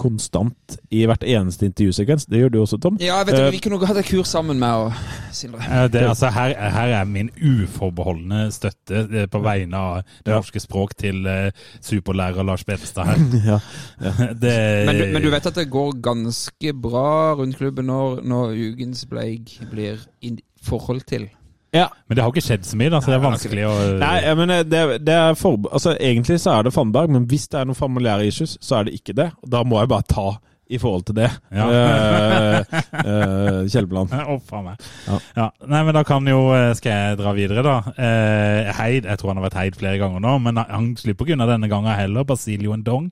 [SPEAKER 5] konstant i hvert eneste intervjusekvens. Det gjør du også, Tom.
[SPEAKER 4] Ja, jeg vet ikke, vi kunne hatt et kurs sammen med og Sindre.
[SPEAKER 3] Eh, Det, altså, her, her er min uforbeholdne støtte eh, på vegne av det norske språk til eh, superlærer Lars Bevestad her.
[SPEAKER 5] <laughs> Ja.
[SPEAKER 3] <laughs> Det,
[SPEAKER 4] Men
[SPEAKER 3] Eh,
[SPEAKER 4] du, men du vet at det går ganske bra rundt klubben når, når ukens bleik blir i forhold til.
[SPEAKER 3] men det har ikke skjedd så mye, da, så det er
[SPEAKER 4] Nei,
[SPEAKER 3] vanskelig å
[SPEAKER 5] Eh, Nei, jeg mener, det, det er forbe- altså, egentlig så er det Fannberg, men hvis det er noen familiære issues, så er det ikke det. Og da må jeg bare ta i forhold til det.
[SPEAKER 3] Ja.
[SPEAKER 5] Eh, eh, Kjelmeland.
[SPEAKER 3] <laughs> Å, faen meg. Ja.
[SPEAKER 5] Ja.
[SPEAKER 3] Nei, men da kan jo eh, Skal jeg dra videre, da? Eh, Heid, jeg tror han har vært heid flere ganger nå, men han slipper ikke unna denne gangen heller. Basilio Ndong.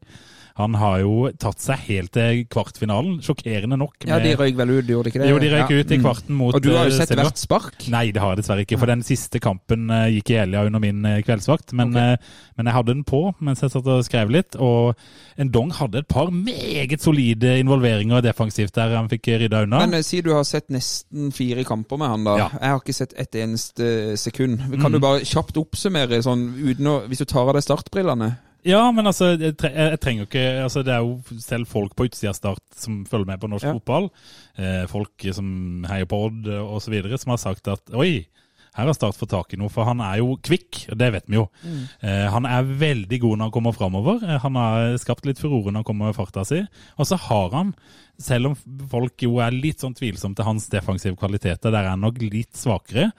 [SPEAKER 3] Han har jo tatt seg helt til kvartfinalen, sjokkerende nok.
[SPEAKER 4] Ja, de
[SPEAKER 3] med-
[SPEAKER 4] røyk vel ut, de gjorde ikke det?
[SPEAKER 3] jo, de røyk
[SPEAKER 4] Ja.
[SPEAKER 3] ut i
[SPEAKER 4] Mm.
[SPEAKER 3] kvarten mot
[SPEAKER 4] Og du har
[SPEAKER 3] eh,
[SPEAKER 4] jo sett
[SPEAKER 3] Serbia.
[SPEAKER 4] hvert spark?
[SPEAKER 3] Nei, det har jeg dessverre ikke. For den siste kampen eh, gikk i helga under min eh, kveldsvakt. Men,
[SPEAKER 4] Ok.
[SPEAKER 3] eh, men jeg hadde den på mens jeg satt og skrev litt. Og Ndong hadde et par meget solide involveringer defensivt der han fikk rydda unna.
[SPEAKER 4] Men eh, si du har sett nesten fire kamper med han, da.
[SPEAKER 3] Ja. Mm.
[SPEAKER 4] Jeg har ikke sett et eneste eh, sekund. Kan du bare kjapt oppsummere, sånn, uten å, hvis du tar av deg startbrillene?
[SPEAKER 3] Ja, men altså, jeg, tre jeg jeg trenger jo ikke altså, Det er jo selv folk på utsida av Start som følger med på norsk
[SPEAKER 4] Ja.
[SPEAKER 3] fotball, eh, folk som heier på Odd osv., som har sagt at oi, her har Start fått tak i noe, for han er jo kvikk, og det vet vi jo. Eh, han er veldig god når han kommer framover. Eh, han har skapt litt furore når han kommer med farta si. Og så har han, selv om folk jo er litt sånn tvilsomme til hans defensive kvaliteter, der er han nok litt svakere,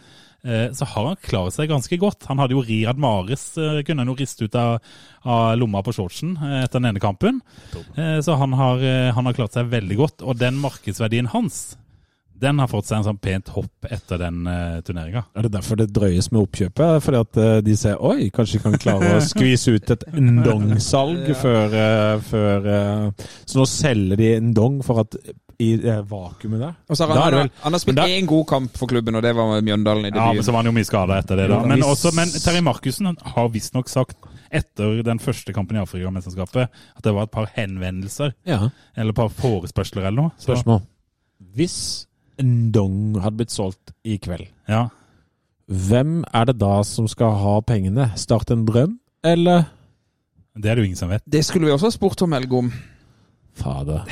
[SPEAKER 3] eh, så har han klart seg ganske godt. Han hadde jo Riyad Mahrez, eh, kunne han jo riste ut av, av lomma på shortsen eh, etter den ene kampen. Eh, Så han har, eh, han har klart seg veldig godt. Og den markedsverdien hans, den har fått seg en sånn pent hopp etter den eh, turneringa.
[SPEAKER 5] Er det derfor det drøyes med oppkjøpet? Fordi at eh, de ser oi, kanskje vi kan
[SPEAKER 4] <laughs>
[SPEAKER 5] klare å skvise ut et Ndong-salg før, eh, før eh, Så nå selger de Ndong for at i eh, vakuumet der
[SPEAKER 4] Og så har
[SPEAKER 5] Da er
[SPEAKER 4] han,
[SPEAKER 5] det
[SPEAKER 4] han,
[SPEAKER 5] vel-
[SPEAKER 4] har spilt
[SPEAKER 5] men da-
[SPEAKER 4] én god kamp for klubben, og det var med Mjøndalen i
[SPEAKER 3] Ja, men
[SPEAKER 4] debuten.
[SPEAKER 3] så var han jo mye skada etter det, da.
[SPEAKER 5] Ja,
[SPEAKER 3] Men,
[SPEAKER 5] hvis-
[SPEAKER 3] også, men Terje Markussen har visstnok sagt etter den første kampen i Afrikamesterskapet at det var et par henvendelser
[SPEAKER 5] Ja.
[SPEAKER 3] eller et par forespørsler eller noe. Så,
[SPEAKER 5] Spørsmål. Hvis Ndong hadde blitt solgt i kveld,
[SPEAKER 3] ja.
[SPEAKER 5] hvem er det da som skal ha pengene? Start en drøm, eller
[SPEAKER 3] Det er det jo ingen som vet.
[SPEAKER 4] det skulle vi også ha spurt om, Helge, om.
[SPEAKER 5] Fader.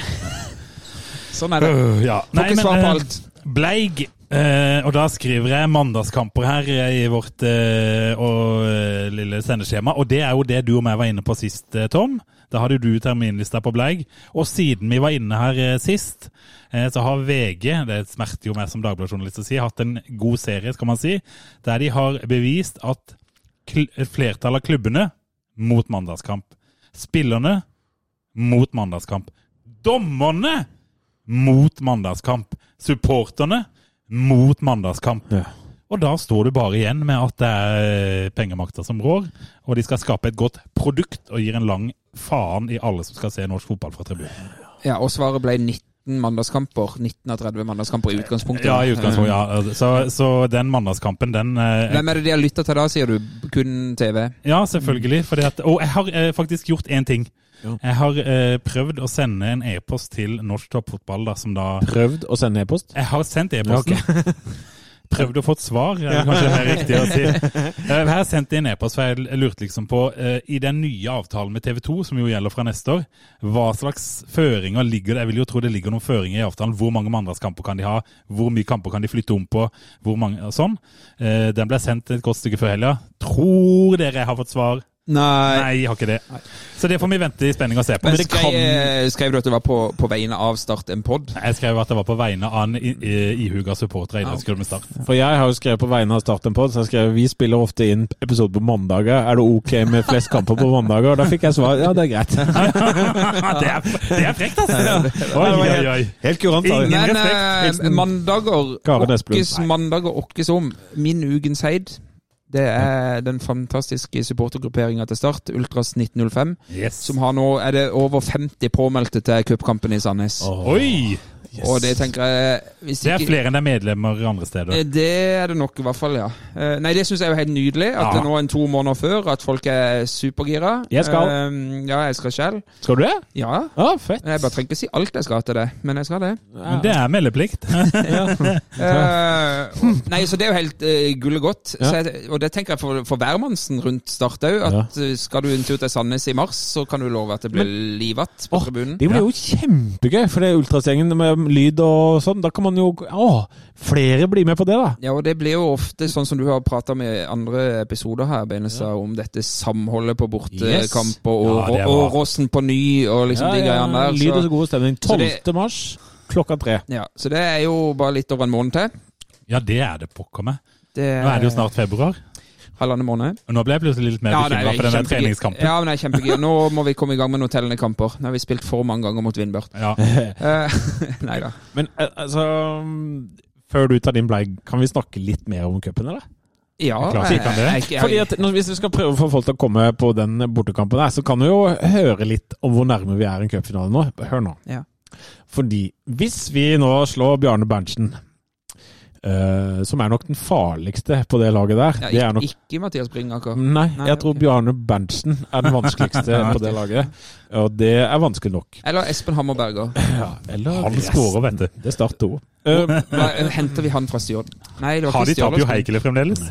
[SPEAKER 4] Sånn er det.
[SPEAKER 3] ja.
[SPEAKER 4] Får ikke svar på
[SPEAKER 3] Øh. eh,
[SPEAKER 4] alt.
[SPEAKER 3] Bleig. eh, og da skriver jeg mandagskamper her eh, i vårt eh, og, eh, lille sendeskjema. Og det er jo det du og jeg var inne på sist, eh, Tom. Da hadde jo du terminlista på Bleig. Og siden vi var inne her eh, sist, eh, så har VG, det smerter jo meg som dagbladjournalist å si, hatt en god serie, skal man si, der de har bevist at kl flertallet av klubbene mot mandagskamp. Spillerne mot mandagskamp. Dommerne mot mandagskamp. Supporterne mot mandagskamp.
[SPEAKER 5] Ja.
[SPEAKER 3] Og da står du bare igjen med at det er pengemakta som rår, og de skal skape et godt produkt og gir en lang faen i alle som skal se norsk fotball fra tribunen.
[SPEAKER 4] Ja, og svaret ble 19 mandagskamper. 19 av 30 mandagskamper i utgangspunktet.
[SPEAKER 3] Ja, i utgangspunktet. Ja. Altså, Så, så den mandagskampen, den eh,
[SPEAKER 4] Hvem er det de har lytta til da, sier du? Kun TV?
[SPEAKER 3] Ja, selvfølgelig. Fordi at, og jeg har eh, faktisk gjort én ting.
[SPEAKER 5] Ja.
[SPEAKER 3] Jeg har eh, prøvd å sende en e-post til Norsk Toppfotball, da, som da
[SPEAKER 5] Prøvd å sende e-post?
[SPEAKER 3] Jeg har sendt e-posten. <laughs> Prøvd å få et svar, er det kanskje mer riktig å
[SPEAKER 4] <laughs>
[SPEAKER 3] si. Eh, Jeg har sendt inn e-post, for jeg lurte liksom på, eh, i den nye avtalen med TV 2, som jo gjelder fra neste år, hva slags føringer ligger det? Jeg vil jo tro det ligger noen føringer i avtalen. Hvor mange mandagskamper kan de ha? Hvor mye kamper kan de flytte om på? Hvor mange, og sånn. Eh, Den ble sendt et godt stykke før helga. Tror dere jeg har fått svar?
[SPEAKER 4] Nei.
[SPEAKER 3] Nei, jeg har ikke det. Så det får vi vente i spenning og se på.
[SPEAKER 4] Men
[SPEAKER 3] Men det
[SPEAKER 4] skrev,
[SPEAKER 3] kan...
[SPEAKER 4] eh, skrev du at det var på, på vegne av Start en pod?
[SPEAKER 3] Jeg skrev at det var på vegne av en i- i- ihuga supporter i idrettsklubben Start.
[SPEAKER 5] For jeg har jo skrevet på vegne av Start en pod, så jeg skrev vi spiller ofte inn episode på mandager. Er det ok med flest kamper på mandager? Og Da fikk jeg svar ja, det er greit.
[SPEAKER 3] det, er, det er frekt, altså! Oi, oi, oi.
[SPEAKER 5] <laughs> Helt kurant.
[SPEAKER 3] Ingen
[SPEAKER 4] Men
[SPEAKER 3] respekt,
[SPEAKER 4] eh,
[SPEAKER 3] Hilsen.
[SPEAKER 4] mandager
[SPEAKER 5] Karen Esplund.
[SPEAKER 4] åkkes mandager åkkes om. Min ukens heid. Det er den fantastiske supportergrupperinga til Start, Ultras 1905,
[SPEAKER 3] Yes.
[SPEAKER 4] som har nå er det over 50 påmeldte til cupkampen i Sandnes.
[SPEAKER 3] Oi!
[SPEAKER 4] Og det tenker jeg hvis
[SPEAKER 3] Det er
[SPEAKER 4] ikke-
[SPEAKER 3] flere enn det er medlemmer andre steder.
[SPEAKER 4] Eh, Det er det nok, i hvert fall, ja. Eh, Nei, det syns jeg er jo helt nydelig.
[SPEAKER 3] Ja.
[SPEAKER 4] At det nå er en to måneder før, at folk er supergira.
[SPEAKER 5] Jeg skal.
[SPEAKER 4] Eh, Ja, jeg skal selv.
[SPEAKER 5] Skal du det?
[SPEAKER 4] Ja.
[SPEAKER 5] Ja, fett.
[SPEAKER 4] Jeg bare trenger ikke si alt jeg skal til det, men jeg skal
[SPEAKER 5] <laughs>
[SPEAKER 4] det.
[SPEAKER 3] Men det er meldeplikt.
[SPEAKER 4] Eh, nei, så det er jo helt uh, gullet godt. Så jeg, og det tenker jeg for, for hvermannsen rundt start òg. At eh, skal du en tur til Sandnes i mars, så kan du love at det blir livatt på
[SPEAKER 5] Åh,
[SPEAKER 4] tribunen.
[SPEAKER 5] Det blir jo kjempegøy, for det er ultrasgjengen med lyd og sånn. Da kan man jo Å, flere blir med på det, da.
[SPEAKER 4] Ja, og det blir jo ofte sånn som du har prata med i andre episoder her, Benestad, om dette samholdet på
[SPEAKER 5] Yes.
[SPEAKER 4] bortekamper og,
[SPEAKER 3] Ja, det var-
[SPEAKER 4] og, Åråsen på ny og liksom de greiene der.
[SPEAKER 5] Lyd og så
[SPEAKER 4] Så,
[SPEAKER 5] god stemning. 12.
[SPEAKER 4] det-
[SPEAKER 5] mars klokka tre.
[SPEAKER 4] ja, så det er jo bare litt over en måned til.
[SPEAKER 3] Ja, det er det pokker meg.
[SPEAKER 4] Det
[SPEAKER 3] Nå er det jo snart februar.
[SPEAKER 4] halvannen måned.
[SPEAKER 3] Og nå ble jeg plutselig litt mer
[SPEAKER 4] nei,
[SPEAKER 3] bekymra
[SPEAKER 4] jeg er
[SPEAKER 3] for den
[SPEAKER 4] kjempegir-
[SPEAKER 3] treningskampen.
[SPEAKER 4] Ja, men jeg er kjempegira. Nå må vi komme i gang med noen tellende kamper. Nå har vi spilt for mange ganger mot
[SPEAKER 3] <laughs>
[SPEAKER 4] Vindbjart.
[SPEAKER 3] Ja.
[SPEAKER 4] Eh, <laughs> nei da.
[SPEAKER 5] Men eh, altså Før du tar din bleig, kan vi snakke litt mer om cupen, eller?
[SPEAKER 4] Ja,
[SPEAKER 3] Det er klart vi kan det.
[SPEAKER 4] jeg-
[SPEAKER 5] Fordi at nå- Hvis vi skal prøve å få folk til å komme på den bortekampen, her, så kan vi jo høre litt om hvor nærme vi er en cupfinale nå. Hør nå.
[SPEAKER 4] Ja.
[SPEAKER 5] Fordi hvis vi nå slår Bjarne Berntsen, eh, som er nok den farligste på det laget der
[SPEAKER 4] ja,
[SPEAKER 5] det er nok
[SPEAKER 4] ikke, ikke Mathias Bringaker.
[SPEAKER 5] Nei,
[SPEAKER 4] Nei,
[SPEAKER 5] jeg tror
[SPEAKER 4] ok.
[SPEAKER 5] Bjarne Berntsen er den
[SPEAKER 4] <laughs>
[SPEAKER 5] vanskeligste på det laget. Og det er vanskelig nok.
[SPEAKER 4] Eller Espen Hammerberger.
[SPEAKER 5] Eller
[SPEAKER 3] Han skårer, vet du.
[SPEAKER 5] Det er start to. Eh,
[SPEAKER 3] <laughs>
[SPEAKER 4] Da henter vi han fra Stjørdal. Nei, det var
[SPEAKER 3] Har
[SPEAKER 4] ikke
[SPEAKER 3] de tapt
[SPEAKER 4] Stjørdal.
[SPEAKER 3] jo Heikele fremdeles?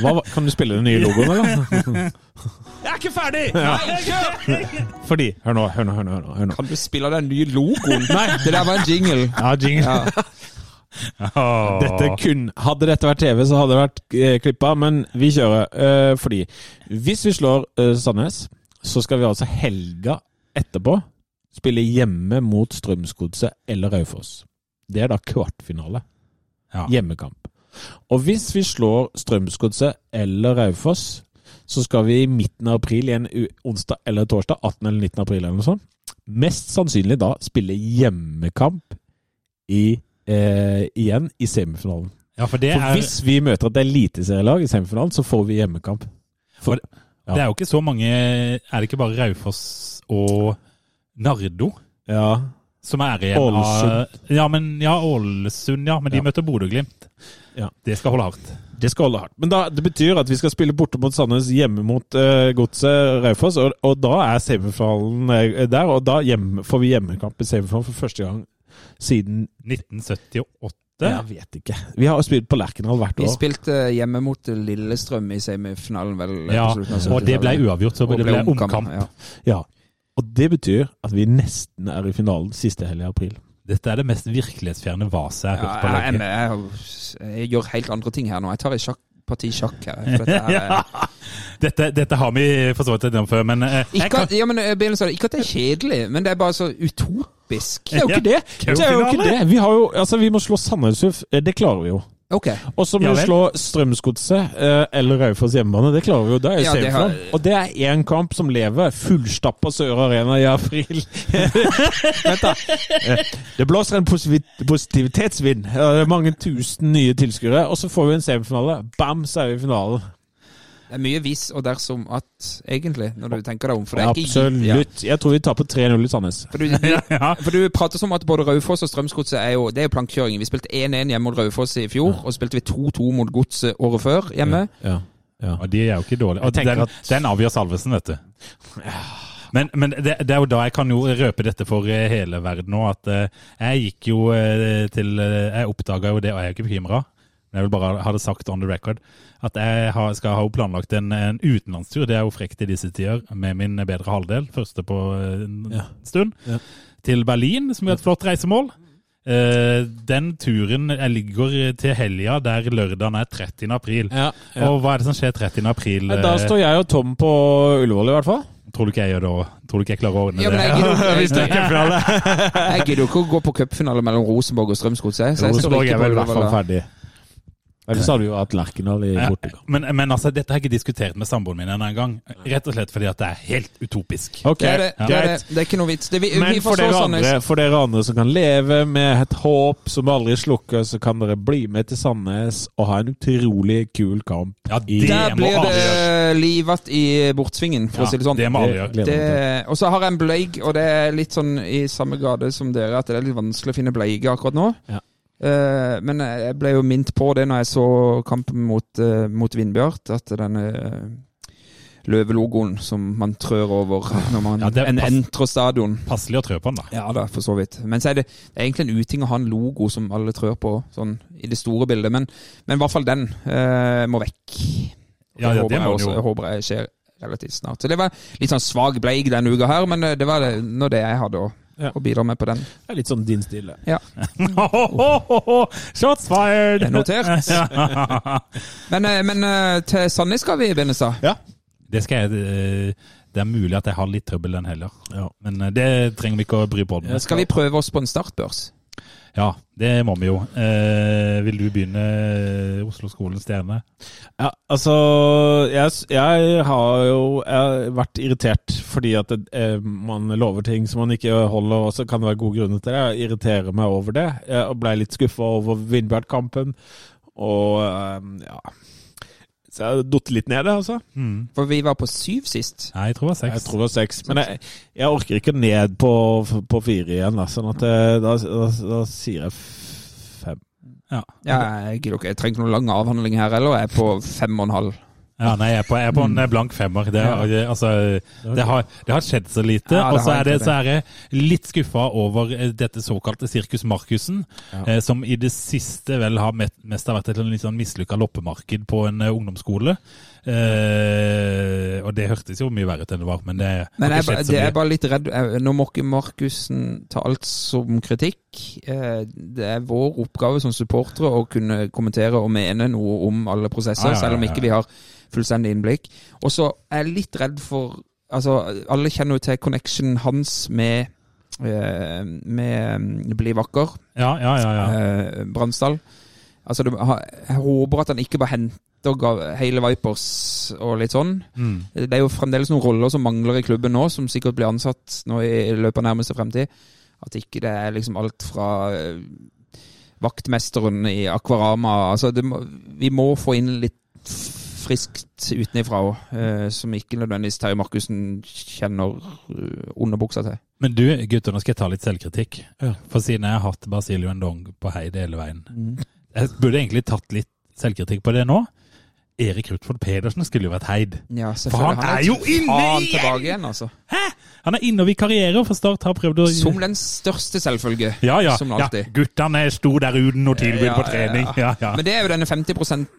[SPEAKER 5] hva, var- kan du spille den nye logoen, eller?
[SPEAKER 3] <laughs> Jeg er ikke ferdig!
[SPEAKER 5] Fordi Hør nå, hør nå, hør nå. Hør nå, hør nå.
[SPEAKER 4] Kan du spille den nye logoen? <laughs> Nei, det der var en jingle.
[SPEAKER 5] Ja, jingle.
[SPEAKER 4] <laughs> Ja.
[SPEAKER 3] Åh.
[SPEAKER 5] Dette kun, hadde dette vært TV, så hadde det vært eh, klippa, men vi kjører. eh, fordi hvis vi slår eh, Sandnes, så skal vi altså helga etterpå spille hjemme mot Strømsgodset eller Raufoss. Det er da kvartfinale.
[SPEAKER 3] Ja.
[SPEAKER 5] Hjemmekamp. Og hvis vi slår Strømsgodset eller Raufoss, så skal vi i midten av april, i en u- onsdag eller torsdag, 18. eller 19. april eller noe sånt, mest sannsynlig da spille hjemmekamp i, eh, igjen i semifinalen.
[SPEAKER 3] Ja, for det
[SPEAKER 5] For
[SPEAKER 3] er,
[SPEAKER 5] hvis vi møter et eliteserielag i semifinalen, så får vi hjemmekamp. For, ja.
[SPEAKER 3] det er jo ikke så mange Er det ikke bare Raufoss og Nardo
[SPEAKER 5] ja.
[SPEAKER 3] som er igjen av Ja, men ja, Ålesund, ja. Men de
[SPEAKER 5] Ja.
[SPEAKER 3] møter Bodø-Glimt.
[SPEAKER 5] Ja.
[SPEAKER 3] Det skal holde hardt.
[SPEAKER 5] Det skal holde hardt. Men da, det betyr at vi skal spille borte mot Sandnes, hjemme mot uh, Godset Raufoss. Og, og da er semifinalen eh, der, og da hjem, får vi hjemmekamp i semifinalen for første gang siden
[SPEAKER 3] 1978.
[SPEAKER 5] Jeg vet ikke. Vi har jo spilt på Lerkendal hvert
[SPEAKER 4] Vi
[SPEAKER 5] år.
[SPEAKER 4] spilte eh, hjemme mot Lillestrøm i semifinalen, vel. eh,
[SPEAKER 3] Ja,
[SPEAKER 4] på slutten av
[SPEAKER 3] og det ble
[SPEAKER 4] 70-tallet.
[SPEAKER 3] uavgjort, så
[SPEAKER 4] Og
[SPEAKER 3] det ble omkamp.
[SPEAKER 4] ja.
[SPEAKER 5] Ja. Og det betyr at vi nesten er i finalen siste helg i april.
[SPEAKER 3] Dette er det mest virkelighetsfjerne vaset jeg har
[SPEAKER 4] Ja,
[SPEAKER 3] hørt på
[SPEAKER 4] jeg,
[SPEAKER 3] lenge.
[SPEAKER 4] jeg, jeg, jeg gjør helt andre ting her nå. Jeg tar et sjakk, parti sjakk her. For dette
[SPEAKER 3] <laughs>
[SPEAKER 4] her er,
[SPEAKER 3] Dette, dette har vi for så vidt vært innom før, men eh, jeg
[SPEAKER 4] ikke,
[SPEAKER 3] kan,
[SPEAKER 4] at, ja, men, eh, Benus sa det, ikke at det er kjedelig, men det er bare så utopisk.
[SPEAKER 5] Det er jo ikke det!
[SPEAKER 3] Ja,
[SPEAKER 5] Det er jo ikke
[SPEAKER 3] cupfinale.
[SPEAKER 5] det. Vi, har jo, altså, vi må slå Sandnes Ulf. Eh, Det klarer vi jo.
[SPEAKER 4] Ok.
[SPEAKER 5] Og så må
[SPEAKER 3] Ja
[SPEAKER 5] vi
[SPEAKER 3] vel.
[SPEAKER 5] slå Strømsgodset eh, eller Raufoss hjemmebane. Det klarer vi jo. Det er jo
[SPEAKER 4] Ja, det har-
[SPEAKER 5] semifinalen. Og det er én kamp som lever. Fullstappa Sør Arena i april. <laughs> Vent, da. Eh, Det blåser en posit- positivitetsvind. Eh, Det er mange tusen nye tilskuere. Og så får vi en semifinale. Bam, så er vi i finalen.
[SPEAKER 4] Det er mye hvis og dersom at, egentlig, når du tenker deg om. For det er ikke gitt, ja.
[SPEAKER 5] Absolutt. Jeg tror vi taper 3-0 i Sandnes. <laughs>
[SPEAKER 4] For du, du, for du prater som at både Raufoss og Strømsgodset er jo Det er jo plankkjøring. Vi spilte 1-1 hjemme mot Raufoss i fjor, og så spilte vi 2-2 mot Godset året før hjemme.
[SPEAKER 5] Ja.
[SPEAKER 3] Og de er jo ikke dårlige. Og
[SPEAKER 5] Jeg tenker
[SPEAKER 3] den,
[SPEAKER 5] at-
[SPEAKER 3] den avgjør Salvesen, vet du. Men, men det, det er jo da jeg kan jo røpe dette for eh, hele verden nå, at eh, jeg gikk jo eh, til eh, Jeg oppdaga jo det, og jeg er jo ikke bekymra. Men jeg vil bare ha det sagt on the record at jeg har, skal ha jo planlagt en, en utenlandstur. Det er jo frekt i disse tider, med min bedre halvdel, første på eh, en
[SPEAKER 5] Ja.
[SPEAKER 3] stund.
[SPEAKER 5] Ja.
[SPEAKER 3] Til Berlin, som er et flott reisemål. Eh, den turen jeg ligger til helga, der lørdagen er 30. april.
[SPEAKER 5] Ja,
[SPEAKER 3] Og hva er det som skjer 30. april? eh,
[SPEAKER 5] Da står jeg og Tom på Ullevål, i hvert fall.
[SPEAKER 3] Tror du ikke jeg gjør det òg? Tror du ikke jeg klarer å ordne
[SPEAKER 4] Ja, men jeg
[SPEAKER 3] det? <laughs>
[SPEAKER 4] gidder jo
[SPEAKER 5] Hvis det er
[SPEAKER 4] jeg-
[SPEAKER 5] cupfinale.
[SPEAKER 4] <laughs> jeg gidder jo ikke å gå på cupfinale mellom Rosenborg og Strømsgodset. så jeg står
[SPEAKER 5] Rosenborg
[SPEAKER 4] ikke
[SPEAKER 5] er
[SPEAKER 4] på
[SPEAKER 5] vel i hvert
[SPEAKER 4] Ullevål
[SPEAKER 5] fall
[SPEAKER 4] da.
[SPEAKER 5] ferdig. Ellers hadde vi jo hatt Lerkendal i
[SPEAKER 3] Ja,
[SPEAKER 5] Portugal.
[SPEAKER 3] Men, men altså, dette har jeg ikke diskutert med samboeren min ennå engang. Rett og slett fordi at det er helt utopisk.
[SPEAKER 5] Ok,
[SPEAKER 4] Det er, det, det, er det.
[SPEAKER 5] greit.
[SPEAKER 4] det er ikke noe vits. Det, vi,
[SPEAKER 5] Men
[SPEAKER 4] vi
[SPEAKER 5] for
[SPEAKER 4] får så
[SPEAKER 5] dere,
[SPEAKER 4] sånn
[SPEAKER 5] andre, for dere andre som kan leve med et håp som aldri slukker, så kan dere bli med til Sandnes og ha en utrolig kul kamp.
[SPEAKER 3] Ja,
[SPEAKER 5] i-
[SPEAKER 3] det
[SPEAKER 4] Der
[SPEAKER 3] må
[SPEAKER 4] blir
[SPEAKER 3] alle
[SPEAKER 4] det livat i bortsvingen, for å si det sånn.
[SPEAKER 3] Det må alle gjøre.
[SPEAKER 5] gleder jeg meg til.
[SPEAKER 4] Det- Og så har jeg en bleig, og det er litt sånn i samme grade som dere, at det er litt vanskelig å finne bleige akkurat nå.
[SPEAKER 5] Ja.
[SPEAKER 4] Eh, men jeg ble jo minnet på det når jeg så kampen mot, uh, mot Vindbjart, at denne eh, løvelogoen som man trør over når man
[SPEAKER 3] Ja, det
[SPEAKER 4] en
[SPEAKER 3] pass-
[SPEAKER 4] entrer stadion.
[SPEAKER 3] Passelig å trø på den, da.
[SPEAKER 4] Ja da, for så vidt. Men så er det, det er egentlig en uting å ha en logo som alle trør på, sånn i det store bildet. Men, men i hvert fall den eh, må vekk.
[SPEAKER 3] Ja, ja,
[SPEAKER 4] håper
[SPEAKER 3] det
[SPEAKER 4] jeg
[SPEAKER 3] må
[SPEAKER 4] også-
[SPEAKER 3] den
[SPEAKER 4] jeg
[SPEAKER 3] jo.
[SPEAKER 4] håper jeg skjer relativt snart. Så det var litt sånn svak bleik denne uka her, men eh, det var det, nå det jeg hadde å,
[SPEAKER 5] Ja.
[SPEAKER 4] å bidra med på den.
[SPEAKER 5] Det er litt sånn din stil. det.
[SPEAKER 3] Shots fired! <laughs>
[SPEAKER 4] Det er notert.
[SPEAKER 3] Ja.
[SPEAKER 4] Men, eh, men eh, til Sandnes skal vi, Benestad.
[SPEAKER 3] <laughs> Det skal jeg eh, Det er mulig at jeg har litt trøbbel den heller.
[SPEAKER 5] Ja.
[SPEAKER 3] Men eh, det trenger vi ikke å bry på den med.
[SPEAKER 4] Skal vi prøve oss på en startbørs?
[SPEAKER 3] Ja, det må vi jo. Eh, vil du begynne eh, Oslo skolens stjerne?
[SPEAKER 5] Ja, altså jeg, s- jeg har jo jeg har vært irritert fordi at det, eh, man lover ting som man ikke holder, og så kan det være gode grunner til det. Jeg irriterer meg over det, eh, og blei litt skuffa over Vindbjart-kampen. Og eh, ja Så jeg har datt litt ned, det, altså.
[SPEAKER 4] For vi var på syv sist.
[SPEAKER 3] Nei, jeg tror det var
[SPEAKER 5] Jeg
[SPEAKER 3] seks.
[SPEAKER 5] tror det var seks, men jeg, jeg orker ikke ned på, på fire igjen. Da, sånn at eh, da, da, da sier jeg f- fem.
[SPEAKER 3] Ja.
[SPEAKER 4] Ja, jeg gidder ikke. Jeg trenger ikke noen lang avhandling her, eller? Jeg er på fem og en halv.
[SPEAKER 3] Ja, nei, jeg er på, jeg er på en eh, blank femmer. Det, har- det- altså, det, har, det har skjedd så lite.
[SPEAKER 4] Ja,
[SPEAKER 3] og
[SPEAKER 4] det
[SPEAKER 3] så
[SPEAKER 4] har
[SPEAKER 3] er, det,
[SPEAKER 4] egentlig
[SPEAKER 3] så er jeg litt skuffa over eh, dette såkalte Sirkus Markussen, eh, som i det siste vel har met- mest har vært et litt sånn mislykka loppemarked på en eh, ungdomsskole. Eh, og det hørtes jo mye verre ut enn det var, men det har
[SPEAKER 4] Men
[SPEAKER 3] ikke
[SPEAKER 4] jeg, ba-
[SPEAKER 3] skjedd så
[SPEAKER 4] det
[SPEAKER 3] mye.
[SPEAKER 4] er bare litt redd. Jeg- Nå må ikke Markussen ta alt som kritikk. Eh, Det er vår oppgave som supportere å kunne kommentere og mene noe om alle prosesser,
[SPEAKER 3] Ah, Ja, ja, ja,
[SPEAKER 4] selv om
[SPEAKER 3] ja,
[SPEAKER 4] ikke vi har fullstendig innblikk. Og så er jeg litt redd for Altså, alle kjenner jo til connection hans med eh, med mm, Bli vakker,
[SPEAKER 3] Ja, ja, ja. ja.
[SPEAKER 4] eh, Bransdal. Altså, det, jeg håper at han ikke bare henter ga- hele Vipers og litt sånn.
[SPEAKER 3] Mm.
[SPEAKER 4] Det er jo fremdeles noen roller som mangler i klubben nå, som sikkert blir ansatt nå i i løpet av nærmeste fremtid. At ikke det er liksom alt fra eh, vaktmesteren i Aquarama altså det må, Vi må få inn litt friskt utenifra òg, som ikke nødvendigvis Terje Markussen kjenner eh, underbuksa til.
[SPEAKER 3] Men du, gutter, nå skal jeg ta litt selvkritikk. For siden jeg har hatt Basilio Ndong på heid hele veien Jeg burde egentlig tatt litt selvkritikk på det nå. Erik Rutford Pedersen skulle jo vært heid.
[SPEAKER 4] Ja,
[SPEAKER 3] For han er jo inne
[SPEAKER 4] faen
[SPEAKER 3] igjen!
[SPEAKER 4] tilbake igjen, altså.
[SPEAKER 3] Han er inne og vikarierer, for Start har prøvd å
[SPEAKER 4] Som den største selvfølge.
[SPEAKER 3] ja, ja,
[SPEAKER 4] Som
[SPEAKER 3] ja.
[SPEAKER 4] alltid.
[SPEAKER 3] Guttene sto der uten noe tilbud
[SPEAKER 4] Ja,
[SPEAKER 3] på trening. Ja, ja.
[SPEAKER 4] Men det er jo denne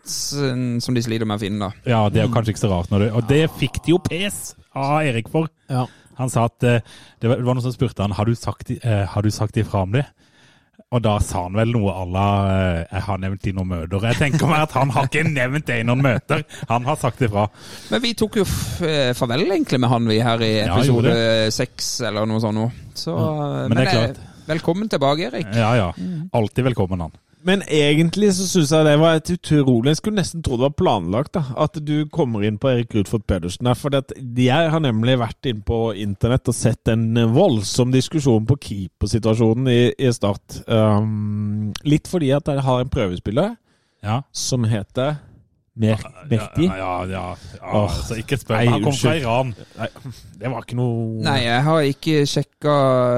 [SPEAKER 4] 50 som de sliter med å finne, da.
[SPEAKER 3] ja, Det er jo kanskje ikke så rart. Når du, og det fikk de jo pes av Erik for.
[SPEAKER 5] Ja.
[SPEAKER 3] Han sa at eh, Det var det var noen som spurte han har du sagt, eh, har du sagt ifra om det. Og da sa han vel noe à la eh, 'jeg har nevnt det i noen møter'. Jeg tenker meg at han har ikke nevnt det i noen møter. Han har sagt ifra.
[SPEAKER 4] Men vi tok jo f eh, farvel egentlig med han vi her i
[SPEAKER 3] Ja,
[SPEAKER 4] episode
[SPEAKER 3] gjorde
[SPEAKER 4] seks eller noe sånt nå. Så, eh,
[SPEAKER 3] men det er
[SPEAKER 4] eh,
[SPEAKER 3] klart.
[SPEAKER 4] Velkommen tilbake, Erik.
[SPEAKER 3] Ja, ja.
[SPEAKER 5] Mm.
[SPEAKER 3] Alltid velkommen, han.
[SPEAKER 5] Men egentlig så syns jeg det var et utrolig Jeg skulle nesten tro det var planlagt, da. At du kommer inn på Erik Rudford Pedersen der. For jeg har nemlig vært inne på internett og sett en voldsom diskusjon på keepersituasjonen i, i Start. Um, litt fordi at jeg har en prøvespiller
[SPEAKER 3] Ja.
[SPEAKER 5] som heter Mer Mehdi.
[SPEAKER 3] Ja, ja, ja, ja.
[SPEAKER 5] Åh.
[SPEAKER 3] Altså, ikke spør
[SPEAKER 5] Nei,
[SPEAKER 3] meg. Han kom fra
[SPEAKER 5] unnskyld.
[SPEAKER 3] Iran.
[SPEAKER 5] Det var ikke noe
[SPEAKER 4] Nei, jeg har ikke sjekka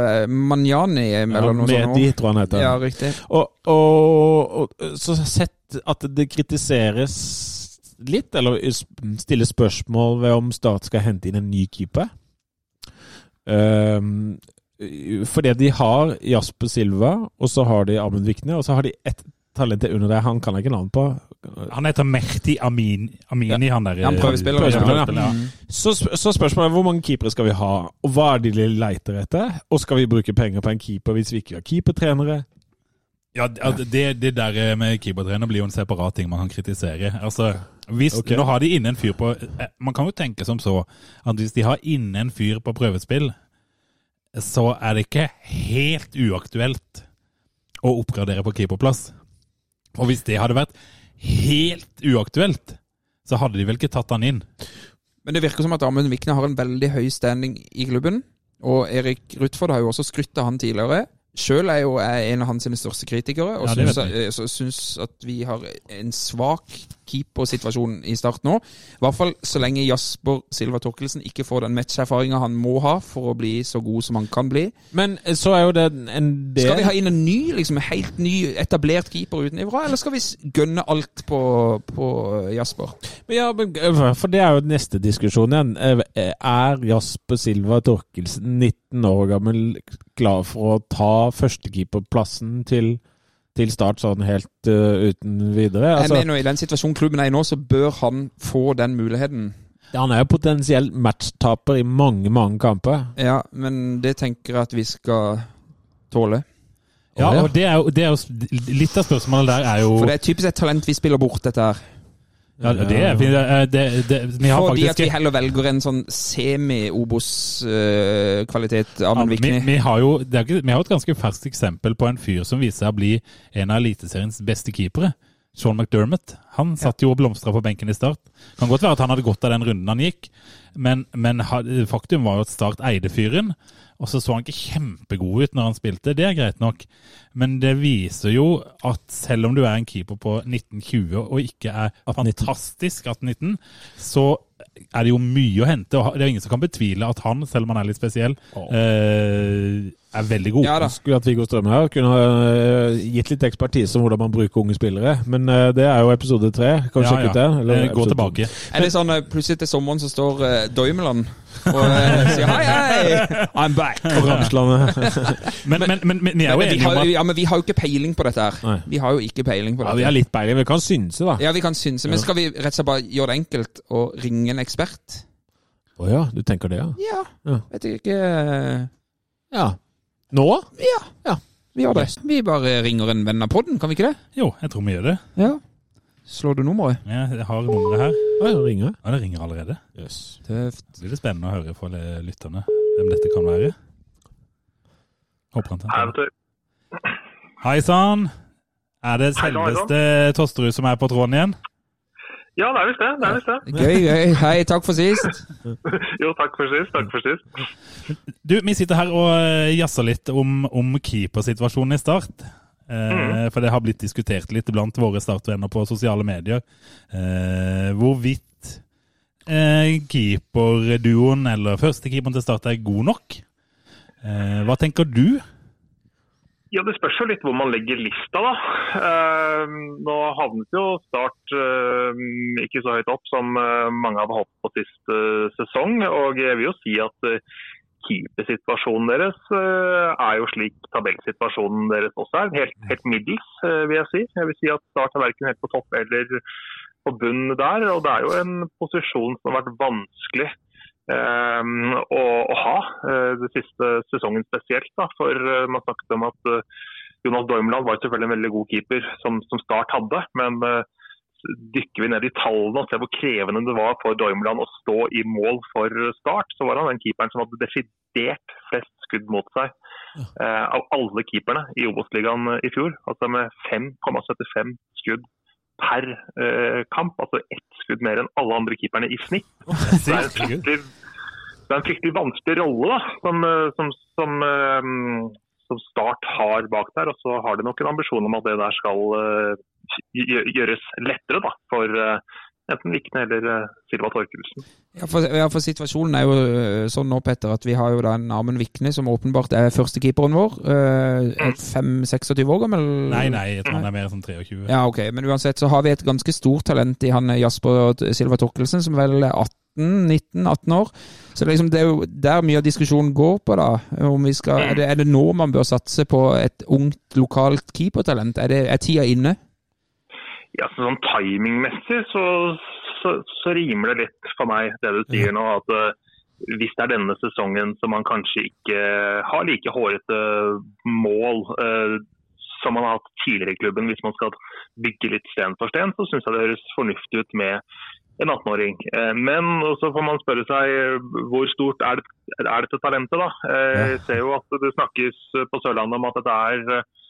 [SPEAKER 4] eh, Manjani eller noe sånt.
[SPEAKER 5] Mehdi,
[SPEAKER 4] nå.
[SPEAKER 5] tror jeg han heter.
[SPEAKER 4] Ja, riktig.
[SPEAKER 5] Og, og, og så sett at det kritiseres litt, eller stiller spørsmål ved om Start skal hente inn en ny keeper. Um, fordi de har Jasper Silva, og så har de Amund Vikne, og så har de ett talent til under der. Han kan jeg ikke navnet på.
[SPEAKER 3] Han heter Mehdi Amin, Amini, han der.
[SPEAKER 4] Han prøvespiller,
[SPEAKER 3] eh,
[SPEAKER 5] ja.
[SPEAKER 3] prøvespiller, ja.
[SPEAKER 5] Så, sp- så spørsmålet er hvor mange keepere skal vi ha, og hva er det de leter etter? Og skal vi bruke penger på en keeper hvis vi ikke har keepertrenere?
[SPEAKER 3] Ja, at det, det der eh, med keepertrener blir jo en separat ting man kan kritisere. Altså, hvis,
[SPEAKER 5] Ok.
[SPEAKER 3] Nå har de inne en fyr på eh, Man kan jo tenke som så at hvis de har inne en fyr på prøvespill, så er det ikke helt uaktuelt å oppgradere på keeperplass. Og hvis det hadde vært helt uaktuelt, så hadde de vel ikke tatt han inn.
[SPEAKER 4] Men det virker som at Amund Vikne har en veldig høy standing i klubben. Og Erik Rutford har jo også skrytt av han tidligere. Sjøl er jo jeg en av hans sine største kritikere, og
[SPEAKER 3] Ja, det
[SPEAKER 4] syns,
[SPEAKER 3] vet
[SPEAKER 4] eh, så syns at vi har en svak keepersituasjon i start nå. I hvert fall så lenge Jasper Silva Torkelsen ikke får den matcherfaringa han må ha for å bli så god som han kan bli.
[SPEAKER 5] Men eh, så er jo det en del
[SPEAKER 4] Skal vi ha inn en ny, liksom en helt ny etablert keeper utenfra, eller skal vi s- gønne alt på, på Jasper?
[SPEAKER 5] Men Ja, men, eh, for det er jo neste diskusjon igjen. Eh, Er Jasper Silva Torkelsen, 19 år gammel, klar for å ta førstekeeperplassen til, til start sånn helt eh, uten videre?
[SPEAKER 4] Jeg
[SPEAKER 5] Altså,
[SPEAKER 4] mener I den situasjonen klubben er i nå, så bør han få den muligheten.
[SPEAKER 5] han er jo potensiell matchtaper i mange, mange kamper.
[SPEAKER 4] Ja, men det tenker jeg at vi skal tåle.
[SPEAKER 3] Ja,
[SPEAKER 5] Å, ja.
[SPEAKER 3] og det er jo, det er jo Litt av spørsmålet der er jo
[SPEAKER 4] For det er typisk et talent vi spiller bort, dette her.
[SPEAKER 3] ja, det er, det, det, det, Vi har
[SPEAKER 4] Fordi at
[SPEAKER 3] faktisk
[SPEAKER 4] vi heller velger en sånn semi-Obos-kvalitet. eh,
[SPEAKER 3] Ja,
[SPEAKER 4] Amund
[SPEAKER 3] vi,
[SPEAKER 4] Vikne.
[SPEAKER 3] vi, har jo, det er ikke, vi har et ganske ferskt eksempel på en fyr som viser seg å bli en av Eliteseriens beste keepere. Sean McDermott. Han satt jo og blomstra på benken i Start. Kan godt være at han hadde godt av den runden han gikk, men, men ha- faktum var jo at Start eide fyren. Og så så han ikke kjempegod ut når han spilte, det er greit nok. Men det viser jo at selv om du er en keeper på 1920 og ikke er
[SPEAKER 5] 18-19.
[SPEAKER 3] fantastisk 18-19, så er det jo mye å hente. Og det er jo ingen som kan betvile at han, selv om han er litt spesiell, eh, er veldig god.
[SPEAKER 4] Ja da.
[SPEAKER 5] Skulle hatt Viggo Strømme her. Kunne ha eh, gitt litt ekspertise om hvordan man bruker unge spillere. Men eh, det er jo episode tre. Kan du
[SPEAKER 3] Ja, ja.
[SPEAKER 5] sjekke ut det?
[SPEAKER 3] Eh, Gå
[SPEAKER 5] episode to.
[SPEAKER 3] tilbake.
[SPEAKER 4] Er det sånn eh, plutselig til sommeren så står eh, Doimeland og eh, sier hei, hei, I'm back.
[SPEAKER 5] På
[SPEAKER 3] <laughs>
[SPEAKER 5] Ramslandet.
[SPEAKER 3] Men, men, men, men vi er jo
[SPEAKER 4] Men vi,
[SPEAKER 3] enige
[SPEAKER 4] har,
[SPEAKER 3] om
[SPEAKER 4] jo-
[SPEAKER 3] at
[SPEAKER 4] ja, men vi har jo ikke peiling på dette her.
[SPEAKER 5] Nei.
[SPEAKER 4] Vi har jo ikke peiling på
[SPEAKER 5] ja,
[SPEAKER 4] dette.
[SPEAKER 5] vi har litt peiling. Vi kan synse, da. Å ja.
[SPEAKER 4] Ja, vi kan synse, men skal vi rett og slett bare gjøre det enkelt og ringe en ekspert?
[SPEAKER 5] du tenker det, ja?
[SPEAKER 4] Ja,
[SPEAKER 5] Ja.
[SPEAKER 4] vet jeg ikke. eh,
[SPEAKER 5] Ja. Nå?
[SPEAKER 4] Ja,
[SPEAKER 5] Ja.
[SPEAKER 4] vi gjør det. Vi bare ringer en venn av podden, kan vi ikke det?
[SPEAKER 3] Jo, jeg tror vi gjør det.
[SPEAKER 4] Ja. Slår du nummeret?
[SPEAKER 3] Jeg har nummeret her.
[SPEAKER 5] Å, ja, ringer.
[SPEAKER 3] Ja, det ringer allerede.
[SPEAKER 5] Yes.
[SPEAKER 4] Tøft.
[SPEAKER 3] Så blir det spennende å høre for lytterne hvem dette kan være. Håper han tar den. Hei sann! Er det
[SPEAKER 7] Hei sann, hei sann.
[SPEAKER 3] selveste Tosterud som er på tråden igjen?
[SPEAKER 7] Ja, det er visst det. det, er visst det.
[SPEAKER 4] Gøy, gøy. Hei, takk for sist.
[SPEAKER 7] Jo, takk for sist. Takk for sist.
[SPEAKER 3] Du, vi sitter her og eh, jazzer litt om, om keepersituasjonen i Start. Eh,
[SPEAKER 7] Mm.
[SPEAKER 3] For det har blitt diskutert litt blant våre Start-venner på sosiale medier. Eh, hvorvidt eh, keeperduoen, eller førstekeeperen til Start, er god nok. Eh, hva tenker du?
[SPEAKER 7] Ja, Det spørs jo litt hvor man legger lista, da. Eh, nå havnet jo Start eh, ikke så høyt opp som eh, mange hadde håpet på sist eh, sesong. Og jeg vil jo si at eh, keepersituasjonen deres eh, er jo slik tabellsituasjonen deres også er. Helt, helt middels, eh, vil jeg si. Jeg vil si at Start er verken helt på topp eller på bunn der. Og det er jo en posisjon som har vært vanskelig eh, å, å ha eh, det siste sesongen spesielt. Da, for eh, man snakket om at eh, Jonas Dormland var selvfølgelig en veldig god keeper som, som Start hadde. men eh, Dykker vi ned i tallene og ser hvor krevende det var for Dormland å stå i mål for Start, så var han den keeperen som hadde desidert flest skudd mot seg eh, av alle keeperne i Obos-ligaen i fjor. Altså med 5,75 skudd per eh, kamp. Altså ett skudd mer enn alle andre keeperne i snitt. Det er en fryktelig, det er en fryktelig vanskelig rolle da, som, eh, som, som, eh, som Start har bak der. Og så har de nok en ambisjon om at det der skal eh, gjø- gjøres lettere da, for eh, enten Vikne eller eh, Silva Torkelsen.
[SPEAKER 4] Ja for, ja, for situasjonen er jo øh, sånn nå, Petter, at vi har jo da en Amund Vikne, som åpenbart er førstekeeperen vår. øh, er 5-26 år gammel?
[SPEAKER 3] Nei, nei, jeg tror han er mer sånn 23.
[SPEAKER 4] Ja, ok. Men uansett så har vi et ganske stort talent i han eh, Jasper Silva Torkelsen, som vel er 18-19-18 år. Så det er liksom, det er jo der mye av diskusjonen går på, da. Om vi skal, er, det, er det nå man bør satse på et ungt, lokalt keepertalent? Er, det, er tida
[SPEAKER 3] <laughs>
[SPEAKER 4] inne?
[SPEAKER 7] Ja, så sånn timingmessig så, så, så rimer det litt for meg det du sier nå. at eh, hvis det er denne sesongen som man kanskje ikke har like hårete mål eh, som man har hatt tidligere i klubben, hvis man skal bygge litt sten for sten, så syns jeg det høres fornuftig ut med en 18-åring. Eh, Men så får man spørre seg eh, hvor stort er, det, er dette talentet, da. Eh, Jeg ser jo at det snakkes eh, på Sørlandet om at dette er eh,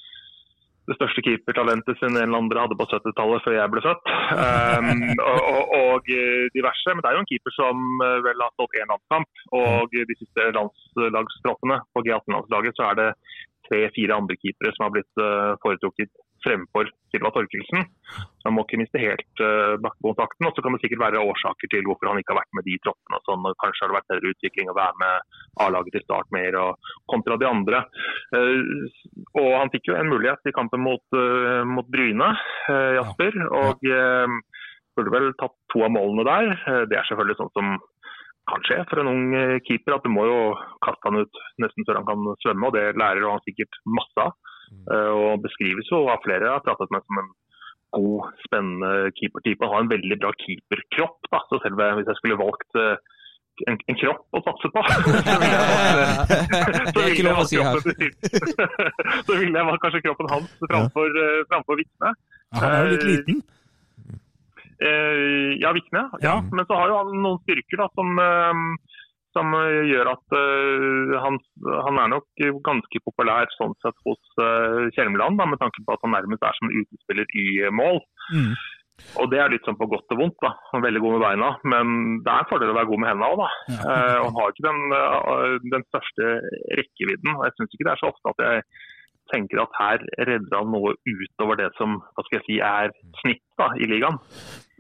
[SPEAKER 7] det største keepertalentet sin en eller andre hadde på 70-tallet før jeg ble født. Um, og, og, og eh, diverse. Men det er jo en keeper som eh, vel har stått én landskamp. Og eh, de siste landslagstroppene på G18-landslaget så er det tre-fire andre keepere som har blitt eh, foretrukket fremfor Silva Torkelsen. Så Man må ikke miste helt eh, bakkekontakten. Og så kan det sikkert være årsaker til hvorfor han ikke har vært med de troppene. og Sånn. og Kanskje har det vært bedre utvikling å være med A-laget til start mer, og kontra de andre. Eh, og han fikk jo en mulighet i kampen mot, eh, mot Bryne, eh, Jasper. Og eh, burde vel tatt to av målene der. Eh, det er selvfølgelig sånn som kan skje for en ung eh, keeper, at du må jo kaste han ut nesten før han kan svømme. og Det lærer jo han sikkert masse av. Eh, og beskrives jo av flere jeg har pratet med som en god, spennende keepertype. Han har en veldig bra keeperkropp, da. så selv hvis jeg skulle valgt eh, en, en kropp å satse på, <laughs> så ville jeg valgt eh, <laughs>
[SPEAKER 4] Det er ikke lov å si her.
[SPEAKER 7] så ville jeg valgt kanskje kroppen hans framfor, ja. framfor Vikne.
[SPEAKER 3] Han er jo litt liten.
[SPEAKER 7] Eh, ja, Vikne. Ja.
[SPEAKER 3] Ja.
[SPEAKER 7] Men så har jo han noen styrker da, som, eh, som eh, gjør at eh, han, han er nok ganske populær sånn sett hos uh, Kjelmeland, da, med tanke på at han nærmest er som en utespiller i eh, mål.
[SPEAKER 3] Mm.
[SPEAKER 7] Og det er litt sånn på godt og vondt. da. Han er veldig god med beina, men det er en fordel å være god med hendene òg, da. Eh, og han har ikke den, eh, den største rekkevidden. og Jeg syns ikke det er så ofte at jeg tenker at her redder han noe utover det som hva skal jeg si, er snitt da, i ligaen.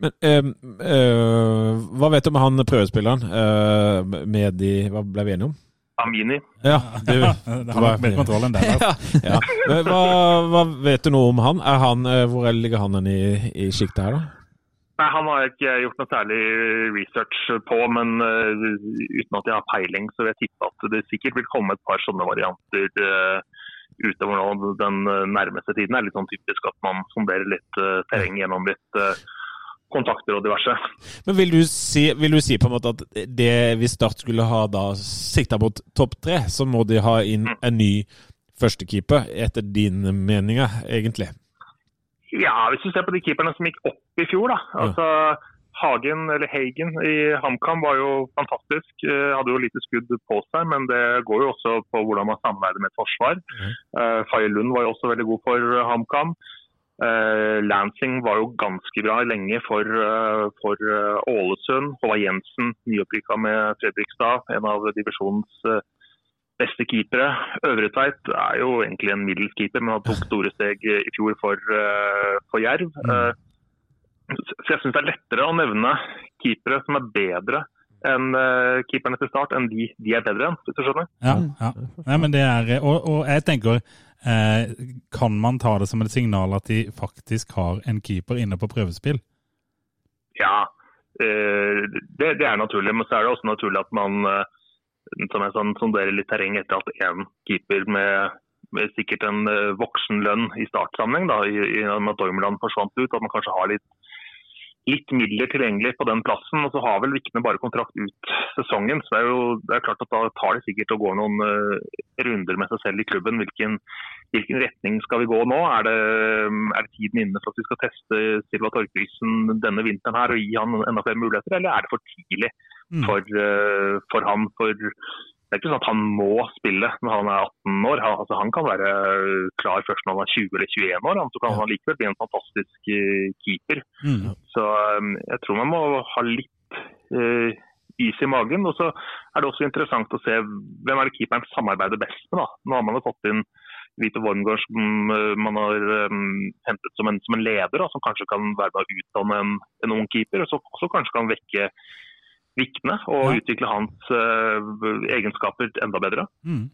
[SPEAKER 5] Men ehm, eh, hva vet du om han prøvespilleren eh, med de Hva ble vi enige om?
[SPEAKER 7] Amini.
[SPEAKER 5] Ja, du.
[SPEAKER 3] Ja, <laughs> det har nok mer kontroll enn altså. det. der.
[SPEAKER 5] Ja. Men Hva, hva vet du noe om han? Er han eh, hvor ligger han hen i, i sjiktet her, da?
[SPEAKER 7] Nei, Han har jeg ikke gjort noe særlig research på, men eh, uten at jeg har peiling, så vil jeg tippe at det sikkert vil komme et par sånne varianter eh, utover nå den eh, nærmeste tiden. Det er litt sånn typisk at man sonderer litt eh, terreng gjennom litt eh, kontakter og diverse.
[SPEAKER 5] Men vil du, si, vil du si på en måte at det hvis Start skulle ha da sikta mot topp tre, så må de ha inn en ny førstekeeper, etter dine meninger, egentlig?
[SPEAKER 7] Ja, hvis du ser på de keeperne som gikk opp i fjor, da. Altså, Hagen, eller Hagen i HamKam var jo fantastisk. Eh, hadde jo lite skudd på seg, men det går jo også på hvordan man samarbeider med et forsvar. Eh, Faye Lund var jo også veldig god for eh, HamKam. Eh, Lansing var jo ganske bra lenge for, eh, for eh, Ålesund. Håvard Jensen, nyopprykka med Fredrikstad, en av divisjonens eh, beste keepere. Øvretveit er jo egentlig en middels keeper, men han tok store steg eh, i fjor for, eh, for Jerv. Eh, Så jeg syns det er lettere å nevne keepere som er bedre enn eh, keeperne til start, enn de de er bedre enn, hvis du skjønner.
[SPEAKER 3] Ja, ja. Nei, men det er, og, og jeg tenker, eh, kan man ta det som et signal at de faktisk har en keeper inne på prøvespill?
[SPEAKER 7] Ja, eh, det, det er naturlig. Men så er det også naturlig at man eh, som jeg sa, sonderer litt terreng etter at én keeper med, med sikkert en eh, voksen lønn i startsammenheng, da, i, i og med at Dormland forsvant ut, at man kanskje har litt litt midler tilgjengelig på den plassen, og så har vel Vikne bare kontrakt ut sesongen. Så det er jo det er klart at da tar det sikkert og går noen eh, runder med seg selv i klubben. Hvilken, hvilken retning skal vi gå nå? Er det, er det tiden inne for at vi skal teste Silva Torkelsen denne vinteren her og gi han enda flere muligheter, eller er det for tidlig
[SPEAKER 3] Mm.
[SPEAKER 7] for, eh, for han? For det er ikke sånn at han må spille når han er 18 år. Han, altså, han kan være klar først når han er 20 eller 21 år. Han, så kan han likevel bli en fantastisk eh, keeper.
[SPEAKER 3] Mm.
[SPEAKER 7] Så um, jeg tror man må ha litt eh, is i magen. Og så er det også interessant å se hvem er det keeperen samarbeider best med. da. Nå har man jo fått inn Vito Wormgård som eh, man har em, hentet som en, som en leder, da, som kanskje kan være med å utdanne en, en ung keeper. Og så også kanskje kan vekke Vikne og
[SPEAKER 3] Ja.
[SPEAKER 7] utvikle hans eh, egenskaper enda bedre.
[SPEAKER 3] Mm.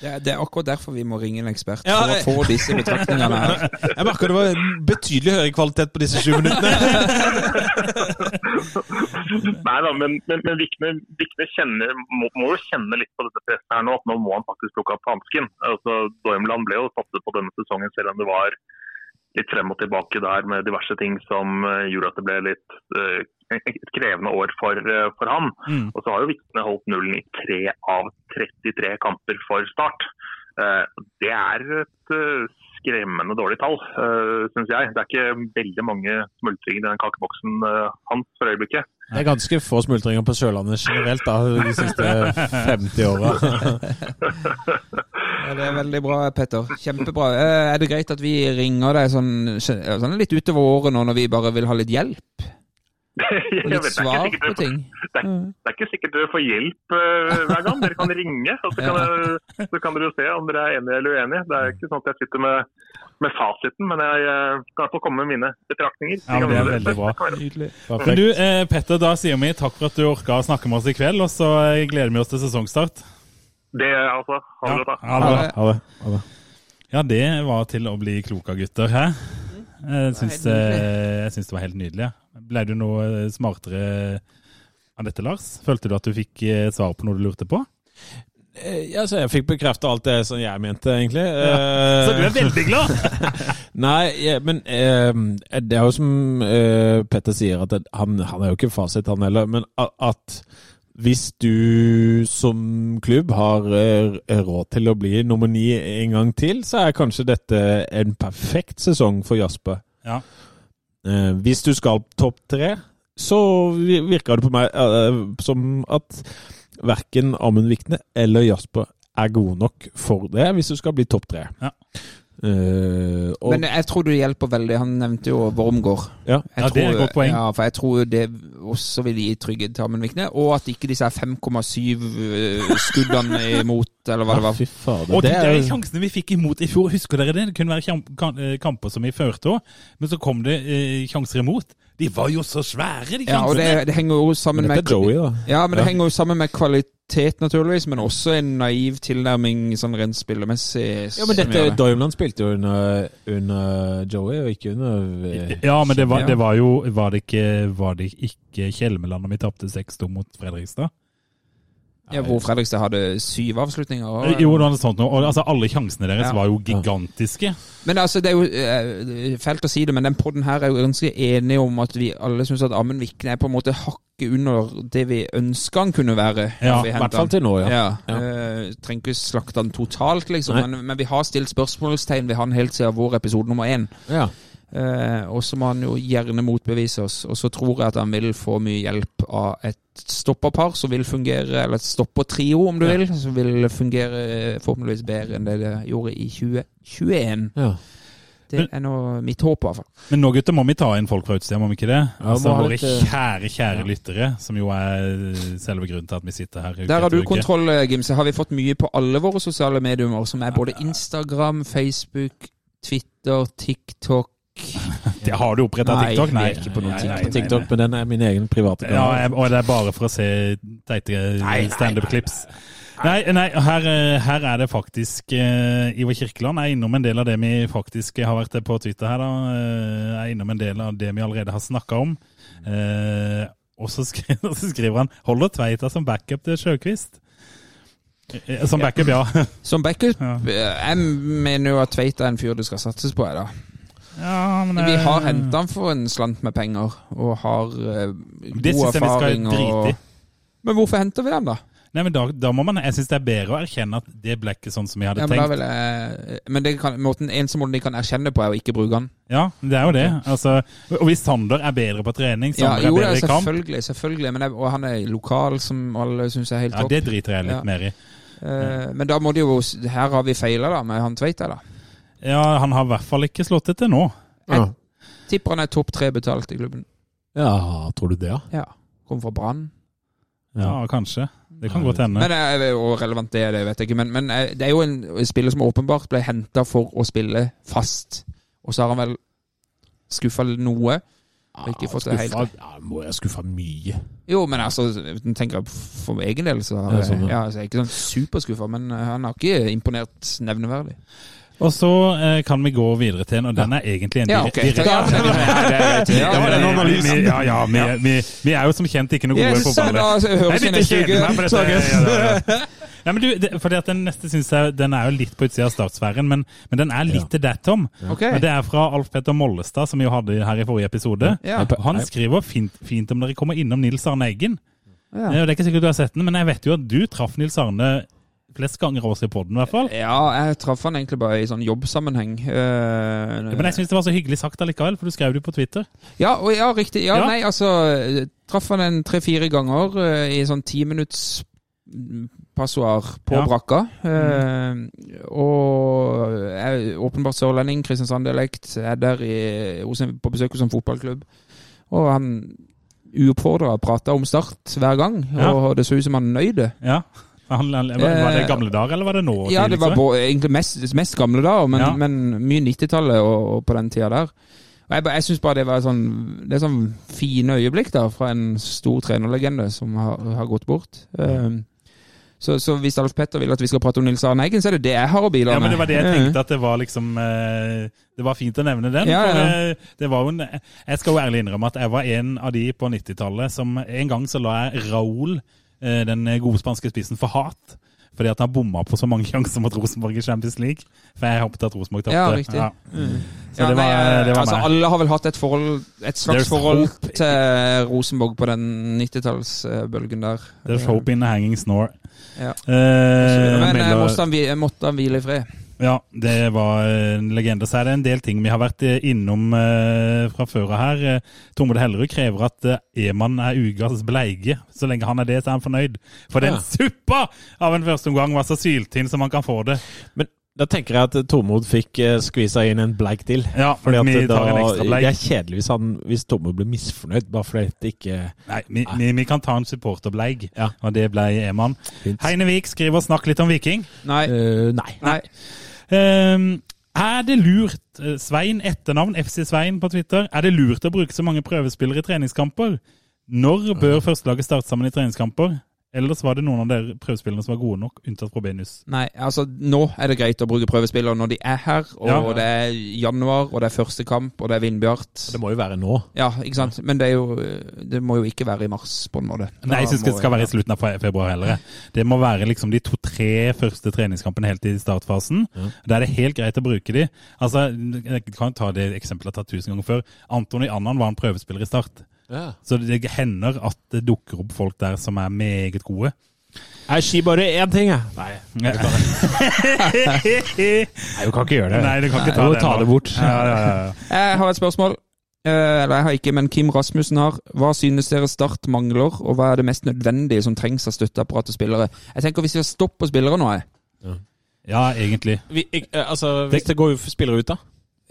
[SPEAKER 4] Det er, det er akkurat derfor vi må ringe en ekspert
[SPEAKER 5] Ja,
[SPEAKER 4] for å
[SPEAKER 5] jeg-
[SPEAKER 4] få disse betraktningene
[SPEAKER 3] <laughs>
[SPEAKER 4] her.
[SPEAKER 5] Jeg merker det var betydelig høyere kvalitet på disse sju minuttene.
[SPEAKER 7] <laughs> Nei da, men, men, men Vikne, Vikne kjenner, må, må jo kjenne litt på dette presset her nå, at nå må han faktisk plukke opp hansken. Altså, Dormland ble jo satset på denne sesongen, selv om det var litt frem og tilbake der med diverse ting som eh, gjorde at det ble litt eh, et krevende år for, eh, for ham.
[SPEAKER 3] Mm.
[SPEAKER 7] Og så har jo Vikne holdt nullen i tre av 33 kamper for start. Eh, Det er et eh, skremmende dårlig tall, syns jeg. Det er ikke veldig mange smultringer i den kakeboksen eh, hans for øyeblikket.
[SPEAKER 5] Det er ganske få smultringer på Sørlandet generelt da, de siste 50 åra.
[SPEAKER 4] Ja, det er veldig bra, Petter. Kjempebra. Eh, Er det greit at vi ringer deg sånn, sånn litt utover året nå, når vi bare vil ha litt hjelp?
[SPEAKER 7] <laughs> Jeg
[SPEAKER 4] Og litt
[SPEAKER 7] vet, det, er ikke
[SPEAKER 4] svar
[SPEAKER 7] sikkert
[SPEAKER 4] på
[SPEAKER 7] dere får,
[SPEAKER 4] ting?
[SPEAKER 7] det,
[SPEAKER 3] Mm.
[SPEAKER 7] er, det er ikke sikkert dere får hjelp eh, hver gang. Dere kan ringe, og så kan, så kan dere jo se om dere er enige eller uenige. Det er ikke sånn at jeg sitter med, med fasiten, men jeg eh, kan få komme med mine betraktninger.
[SPEAKER 3] Ja, men det er veldig bra. <laughs> Men
[SPEAKER 5] Perfekt.
[SPEAKER 3] du, eh, Petter, da sier vi takk for at du orka å snakke med oss i kveld, og så eh, gleder vi oss til sesongstart.
[SPEAKER 7] Det er altså. Ha det godt, da.
[SPEAKER 3] ha det bra.
[SPEAKER 5] Ha det. Ha det.
[SPEAKER 3] Ja, det var til å bli klok av gutter, hæ? Jeg syns,
[SPEAKER 4] helt nydelig.
[SPEAKER 3] eh, jeg syns det var helt nydelig. ja. Ble du noe eh, smartere av dette, Lars? Følte du at du fikk eh, svar på noe du lurte på?
[SPEAKER 5] Eh, Ja, så jeg fikk bekrefta alt det som jeg mente, egentlig.
[SPEAKER 3] Så du
[SPEAKER 5] Eh,
[SPEAKER 3] er veldig glad!
[SPEAKER 5] Nei, ja, men eh, det er jo som eh, Petter sier, at det, han, han er jo ikke fasit, han heller. Men at, at hvis du som klubb har eh, råd til å bli nummer ni en gang til, så er kanskje dette en perfekt sesong for Jasper.
[SPEAKER 3] Ja.
[SPEAKER 5] Eh, hvis du skal topp tre, så vi- virker det på meg eh, som at verken Amund Vikne eller Jasper er gode nok for det, hvis du skal bli topp tre.
[SPEAKER 3] Ja.
[SPEAKER 5] Eh, og-
[SPEAKER 4] Men jeg tror du hjelper veldig. Han nevnte jo Wormgård.
[SPEAKER 5] Ja.
[SPEAKER 4] Jeg
[SPEAKER 3] Ja, det er et
[SPEAKER 4] tror-
[SPEAKER 3] godt poeng.
[SPEAKER 4] Ja, for jeg tror det også vil gi trygghet til Amund Vikne. Og at ikke disse her 5,7 eh, skuddene imot, eller hva det var.
[SPEAKER 5] Ah, Fy fader.
[SPEAKER 3] Og de
[SPEAKER 5] det er
[SPEAKER 3] der
[SPEAKER 5] jo sånn
[SPEAKER 3] sjansene vi fikk imot i fjor, husker dere det? Det kunne være kjam- kan- eh, kamper som vi førte òg, men så kom det eh, sjanser imot. De var jo så svære, de
[SPEAKER 4] Ja, og
[SPEAKER 3] sjansene!
[SPEAKER 4] det, det henger jo sammen
[SPEAKER 5] Dette
[SPEAKER 4] med
[SPEAKER 5] er Joey, da.
[SPEAKER 4] Ja, men det
[SPEAKER 5] Ja.
[SPEAKER 4] henger jo sammen med kvalitet, naturligvis, men også en naiv tilnærming sånn rent spillemessig.
[SPEAKER 5] Ja, men
[SPEAKER 4] som
[SPEAKER 5] dette,
[SPEAKER 4] gjør det.
[SPEAKER 5] Doimland spilte jo under, under Joey, og ikke under eh,
[SPEAKER 3] Ja, men det var, det var jo Var det ikke, var det ikke Kjelmeland når vi tapte 6-2 mot Fredrikstad?
[SPEAKER 4] ja, hvor Fredrikstad hadde syv avslutninger. og-
[SPEAKER 3] Eh, Jo, det var noe sånt noe. Og, altså, alle sjansene deres
[SPEAKER 4] Ja.
[SPEAKER 3] var jo gigantiske.
[SPEAKER 4] Men altså, det er jo eh, fælt å si det, men den podden her er jo ganske enige om at vi alle syns at Amund Vikne er på en måte hakket under det vi ønsker han kunne være.
[SPEAKER 3] Ja,
[SPEAKER 4] når vi
[SPEAKER 5] I
[SPEAKER 4] henter
[SPEAKER 5] hvert fall
[SPEAKER 4] han.
[SPEAKER 5] til nå, ja.
[SPEAKER 4] Ja, eh, trenger ikke slakte han totalt, liksom,
[SPEAKER 5] Nei.
[SPEAKER 4] men, men vi har stilt spørsmålstegn ved han helt siden vår episode nummer én.
[SPEAKER 5] Ja.
[SPEAKER 4] Eh, og så må han jo gjerne motbevise oss. Og så tror jeg at han vil få mye hjelp av et stopperpar som vil fungere, eller et stoppertrio, om du vil, som vil fungere eh, forhåpentligvis bedre enn det det gjorde i 2021.
[SPEAKER 5] ja.
[SPEAKER 4] Det er nå mitt håp, i hvert fall.
[SPEAKER 3] Men nå, gutter, må vi ta inn folk fra utsida, må vi ikke det?
[SPEAKER 5] Ja,
[SPEAKER 3] altså,
[SPEAKER 5] må ha
[SPEAKER 3] våre
[SPEAKER 5] litt, eh,
[SPEAKER 3] kjære, kjære lyttere, som jo er selve grunnen til at vi sitter her. uke
[SPEAKER 4] Der har
[SPEAKER 3] etter
[SPEAKER 4] du
[SPEAKER 3] uke.
[SPEAKER 4] kontroll, eh, Gimse. Har vi fått mye på alle våre sosiale medier, som er både Instagram, Facebook, Twitter, TikTok
[SPEAKER 3] Det har du oppretta
[SPEAKER 4] Nei,
[SPEAKER 3] TikTok?
[SPEAKER 4] vi er ikke
[SPEAKER 5] På noen
[SPEAKER 3] nei,
[SPEAKER 5] ting
[SPEAKER 3] nei,
[SPEAKER 5] på TikTok,
[SPEAKER 3] nei, nei.
[SPEAKER 5] men den er min egen private
[SPEAKER 3] Ja,
[SPEAKER 5] kanal.
[SPEAKER 3] jeg- og det er bare for å se
[SPEAKER 4] nei, nei,
[SPEAKER 3] teite standup-klips. Nei, nei, her, eh, her er det faktisk eh, Ivar Kirkeland er innom en del av det vi faktisk har vært på Twitter her, da. eh, Er innom en del av det vi allerede har snakka om. Eh, <laughs> og så skriver, så skriver han 'Holder Tveita som backup til Sjøkvist'. Eh, eh, Som backup,
[SPEAKER 4] <laughs>
[SPEAKER 3] ja.
[SPEAKER 4] som backup.
[SPEAKER 3] Ja.
[SPEAKER 4] eh, Jeg mener jo at Tveita er en fyr det skal satses på, jeg, da.
[SPEAKER 3] ja men,
[SPEAKER 4] Vi
[SPEAKER 3] eh,
[SPEAKER 4] har henta han for en slant med penger, og har eh,
[SPEAKER 3] Det
[SPEAKER 4] god
[SPEAKER 3] syns jeg vi skal
[SPEAKER 4] erfaring.
[SPEAKER 3] drite i.
[SPEAKER 4] Og... Men hvorfor henter vi han, da?
[SPEAKER 3] Nei, men da, da må man, jeg syns det er bedre å erkjenne at det ble ikke sånn som vi hadde
[SPEAKER 4] Ja, men da
[SPEAKER 3] tenkt.
[SPEAKER 4] vil jeg... eh, men det kan, måten, eneste måten de kan erkjenne på, er å ikke bruke han.
[SPEAKER 3] Ja, det er jo det. Altså, og hvis Sander er bedre på trening,
[SPEAKER 4] Ja,
[SPEAKER 3] Sander
[SPEAKER 4] jo,
[SPEAKER 3] er
[SPEAKER 4] ja,
[SPEAKER 3] bedre i kamp,
[SPEAKER 4] selvfølgelig, selvfølgelig. Men jeg, og han er lokal, som alle syns er helt
[SPEAKER 3] ja,
[SPEAKER 4] topp.
[SPEAKER 3] det driter jeg litt
[SPEAKER 4] Ja.
[SPEAKER 3] mer i.
[SPEAKER 4] Eh, men da må de jo Her har vi feila, da, med han Tveita, da.
[SPEAKER 3] Ja, Han har i hvert fall ikke slått det til nå.
[SPEAKER 5] Ja.
[SPEAKER 4] Tipper han er topp tre betalt i klubben.
[SPEAKER 5] ja, tror du det, ja?
[SPEAKER 4] Ja. Kom fra Brann.
[SPEAKER 3] Ja,
[SPEAKER 5] Ja.
[SPEAKER 3] kanskje. Det kan godt hende.
[SPEAKER 4] Men eh, Og relevant det er det, vet jeg ikke. Men, men eh, det er jo en spiller som åpenbart ble henta for å spille fast. Og så har han vel skuffa noe. Har ikke fått det helt.
[SPEAKER 5] Skuffa- Ja, må jeg skuffa mye?
[SPEAKER 4] Jo, men altså, jeg tenker for min egen del, så har
[SPEAKER 5] Ja,
[SPEAKER 4] jeg,
[SPEAKER 5] sånn, ja.
[SPEAKER 4] ja, så jeg er ikke sånn superskuffa. Men eh, han har ikke imponert nevneverdig.
[SPEAKER 3] Og så eh, kan vi gå videre til en, og den er egentlig en
[SPEAKER 4] Ja,
[SPEAKER 3] dire-
[SPEAKER 4] ok.
[SPEAKER 3] direkte
[SPEAKER 4] Ja, det er greit. Ja,
[SPEAKER 3] Ja,
[SPEAKER 4] det er
[SPEAKER 3] vi-
[SPEAKER 4] greit.
[SPEAKER 3] vi- vi- ja, ja, vi, vi, vi er jo som kjent ikke noe gode
[SPEAKER 4] Yes,
[SPEAKER 3] på ballet.
[SPEAKER 4] da altså, høres vi
[SPEAKER 3] Nei,
[SPEAKER 4] neste
[SPEAKER 3] litt kjedelig her,
[SPEAKER 4] uke.
[SPEAKER 3] for dette- ja, ja, ja. Nei, men du, det, fordi at Den neste synes jeg, den er jo litt på utsida av startsfæren, men, men den er litt til deg, Tom.
[SPEAKER 4] Ok.
[SPEAKER 3] Men Det er fra Alf Petter Mollestad, som vi jo hadde her i forrige episode.
[SPEAKER 4] Ja.
[SPEAKER 3] Han skriver fint, fint om dere kommer innom Nils Arne Eggen.
[SPEAKER 4] Ja.
[SPEAKER 3] Eh, og Det er ikke sikkert du har sett den, men jeg vet jo at du traff Nils Arne flest ganger av oss i podden, i hvert fall.
[SPEAKER 4] Ja, jeg traff han egentlig bare i sånn jobbsammenheng. eh,
[SPEAKER 3] Men jeg syns det var så hyggelig sagt allikevel, for du skrev det jo på Twitter.
[SPEAKER 4] Ja, og ja, riktig. Ja,
[SPEAKER 3] Ja.
[SPEAKER 4] nei, altså eh, Traff han en tre-fire ganger eh, i sånn timinutts passoar på
[SPEAKER 3] Ja. Mm.
[SPEAKER 4] brakka. Eh, og er åpenbart sørlending, Kristiansand-dialekt, er der i, hos en, på besøk hos en fotballklubb. Og han uoppfordra prata om Start hver gang,
[SPEAKER 3] Ja.
[SPEAKER 4] og det så ut som han nøyde.
[SPEAKER 3] Ja. Han, han, var, var det gamle dager, eller var det nå?
[SPEAKER 4] Eh, Ja, det var
[SPEAKER 3] tidligere?
[SPEAKER 4] både, egentlig mest, mest gamle da, men,
[SPEAKER 3] liksom. Ja.
[SPEAKER 4] men mye 90-tallet og, og på den tida der. Og jeg, bare- jeg syns bare det var sånn Det er sånn fine øyeblikk da, fra en stor trenerlegende som har, har gått bort. Ehm, så, så hvis Alf Petter vil at vi skal prate om Nils Arne Eggen, så er det det jeg har å bidra
[SPEAKER 3] Ja,
[SPEAKER 4] med.
[SPEAKER 3] men det var det jeg tenkte, at det var liksom eh, Det var fint å nevne den.
[SPEAKER 4] Ja, ja, ja.
[SPEAKER 3] For eh, det var jo en Jeg skal jo ærlig innrømme at jeg var en av de på 90-tallet som En gang så la jeg Raúl, eh, den gode spanske spissen, for hat. Fordi at han bomma på så mange sjanser mot Rosenborg i Champions League. For jeg håpet at Rosenborg tapte.
[SPEAKER 4] Ja, riktig. Mm.
[SPEAKER 3] Så det
[SPEAKER 4] nei,
[SPEAKER 3] var,
[SPEAKER 4] jeg-
[SPEAKER 3] det var
[SPEAKER 4] altså,
[SPEAKER 3] meg.
[SPEAKER 4] alle har vel hatt et, forhold, et slags
[SPEAKER 3] There's
[SPEAKER 4] forhold
[SPEAKER 3] hope.
[SPEAKER 4] til eh, Rosenborg på den 90-tallsbølgen der.
[SPEAKER 3] There's hope in a hanging snore.
[SPEAKER 4] Ja.
[SPEAKER 3] Eh,
[SPEAKER 4] Men eh,
[SPEAKER 3] mellom-
[SPEAKER 4] måtte han, hvi- måtte han hvile i fred.
[SPEAKER 3] Ja, det var en legende. Så er det en del ting vi har vært eh, innom eh, fra før av her. Eh, Tormod Hellerud krever at eh, Eman er ugas bleige. Så lenge han er det, så er han fornøyd. For den
[SPEAKER 5] Ja.
[SPEAKER 3] suppa av en førsteomgang var så syltynn som man kan få det.
[SPEAKER 5] Men da tenker jeg at Tormod fikk eh, skvisa inn en bleik til.
[SPEAKER 3] Ja,
[SPEAKER 5] Fordi at eh,
[SPEAKER 3] vi
[SPEAKER 5] da,
[SPEAKER 3] tar en ekstra bleik.
[SPEAKER 5] Det er kjedelig hvis, han, hvis Tormod blir misfornøyd, bare fordi det ikke
[SPEAKER 3] Nei, vi, vi, vi kan ta en supporterbleig,
[SPEAKER 5] Ja.
[SPEAKER 3] og det ble Eman.
[SPEAKER 5] Fint.
[SPEAKER 3] Heine Vik skriver 'snakk litt om Viking'.
[SPEAKER 4] Nei.
[SPEAKER 5] Eh, nei.
[SPEAKER 4] nei.
[SPEAKER 3] Ehm, er det lurt, eh, Svein etternavn, FC Svein på Twitter, er det lurt å bruke så mange prøvespillere i treningskamper? Når bør førstelaget starte sammen i treningskamper? Ellers var det noen av dere prøvespillerne som var gode nok, unntatt Probenius.
[SPEAKER 4] Nei, altså nå er det greit å bruke prøvespillere når de er her, og
[SPEAKER 3] Ja.
[SPEAKER 4] det er januar, og det er første kamp, og det er Vindbjart.
[SPEAKER 5] Det må jo være nå.
[SPEAKER 4] Ja, ikke sant? Men det, er jo, det må jo ikke være i mars, på en måte. Da
[SPEAKER 3] Nei, jeg syns ikke
[SPEAKER 4] må-
[SPEAKER 3] det skal være i slutten av fe- februar heller. jeg. Det må være liksom de to-tre første treningskampene helt i startfasen. Da er det helt greit å bruke de. Altså, Jeg kan ta det eksempelet jeg har tatt tusen ganger før. Antony Annan var en prøvespiller i Start. Så det hender at det dukker opp folk der som er meget gode.
[SPEAKER 5] Jeg sier bare én ting, jeg. Nei, du kan ikke gjøre det.
[SPEAKER 3] Nei, du kan ikke ta
[SPEAKER 5] du må
[SPEAKER 3] det
[SPEAKER 5] ta
[SPEAKER 3] nå.
[SPEAKER 5] det bort.
[SPEAKER 3] Ja, ja, ja, ja.
[SPEAKER 4] Jeg har et spørsmål. Eh, Eller jeg har ikke, men Kim Rasmussen har. Hva synes dere Start mangler, og hva er det mest nødvendige som trengs av støtteapparat og spillere? Jeg tenker hvis vi har stopp på spillere nå, jeg.
[SPEAKER 3] ja, egentlig.
[SPEAKER 5] Vi, ik- eh, altså, hvis det går jo for spillere ut, da.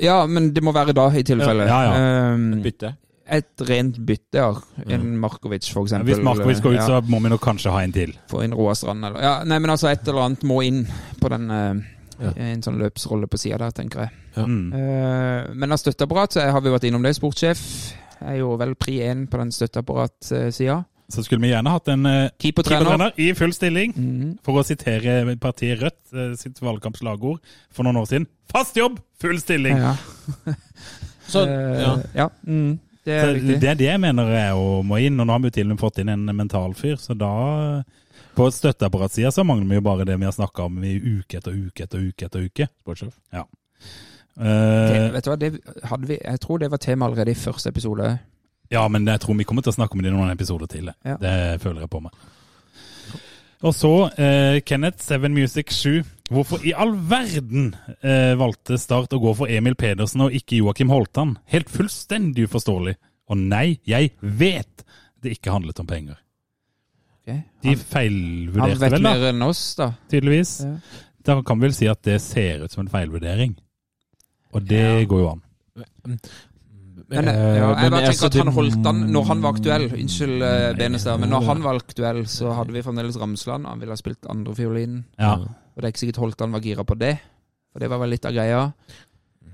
[SPEAKER 4] Ja, men det må være da, i tilfelle.
[SPEAKER 3] Ja, ja, Mm.
[SPEAKER 4] Eh,
[SPEAKER 5] Bytte.
[SPEAKER 4] et rent bytte, ja. En Markovic, for eksempel.
[SPEAKER 3] Hvis Markovic går ut,
[SPEAKER 4] Ja.
[SPEAKER 3] så må vi nok kanskje ha en til.
[SPEAKER 4] Få inn Roa Strand, eller ja, Nei, men altså, et eller annet må inn på den eh,
[SPEAKER 5] Ja.
[SPEAKER 4] En sånn løpsrolle på sida der, tenker jeg.
[SPEAKER 3] Mm.
[SPEAKER 4] Eh, men av støtteapparat så har vi vært innom det. Sportssjef er jo vel pri én på den støtteapparatsida.
[SPEAKER 3] Så skulle vi gjerne hatt en eh,
[SPEAKER 4] Keepertrener.
[SPEAKER 3] keepertrener i full stilling,
[SPEAKER 4] Mhm.
[SPEAKER 3] for å sitere partiet Rødt eh, sitt valgkampslagord for noen år siden. Fast jobb, full stilling!
[SPEAKER 4] Ja.
[SPEAKER 5] Så,
[SPEAKER 4] Eh,
[SPEAKER 5] ja.
[SPEAKER 4] ja. Mm, det er
[SPEAKER 3] Så
[SPEAKER 4] riktig.
[SPEAKER 3] det er det jeg mener jeg jo må inn, og nå har vi jo til og med fått inn en mental fyr, så da På støtteapparatsida så mangler vi jo bare det vi har snakka om i uke etter uke etter uke etter uke. Sportssjef. Ja.
[SPEAKER 4] Det,
[SPEAKER 3] Eh,
[SPEAKER 4] vet du hva, det hadde vi Jeg tror det var tema allerede i første episode.
[SPEAKER 3] Ja, men jeg tror vi kommer til å snakke om det i noen episoder til.
[SPEAKER 4] Ja.
[SPEAKER 3] Det føler jeg på meg. Og så eh, Kenneth, Seven Music 7. Hvorfor i all verden eh, valgte Start å gå for Emil Pedersen og ikke Joakim Holtan? Helt fullstendig uforståelig. Og nei, jeg vet det ikke handlet om penger.
[SPEAKER 4] Ok.
[SPEAKER 3] De
[SPEAKER 4] Han
[SPEAKER 3] feilvurderte
[SPEAKER 4] vet
[SPEAKER 3] vel, da,
[SPEAKER 4] mer enn oss, da.
[SPEAKER 3] tydeligvis.
[SPEAKER 4] Ja.
[SPEAKER 3] Da kan vi vel si at det ser ut som en feilvurdering. Og det går jo an.
[SPEAKER 4] Men, ja,
[SPEAKER 5] Eh,
[SPEAKER 4] jeg
[SPEAKER 5] men
[SPEAKER 4] bare tenker
[SPEAKER 5] altså,
[SPEAKER 4] at han
[SPEAKER 5] det-
[SPEAKER 4] holdt han når han var aktuell. Unnskyld, eh, Benestad, men når han var aktuell, så hadde vi fremdeles Ramsland. Han ville ha spilt andrefiolinen.
[SPEAKER 3] Ja.
[SPEAKER 4] Og det er ikke sikkert Holtan var gira på det. For det var vel litt av greia.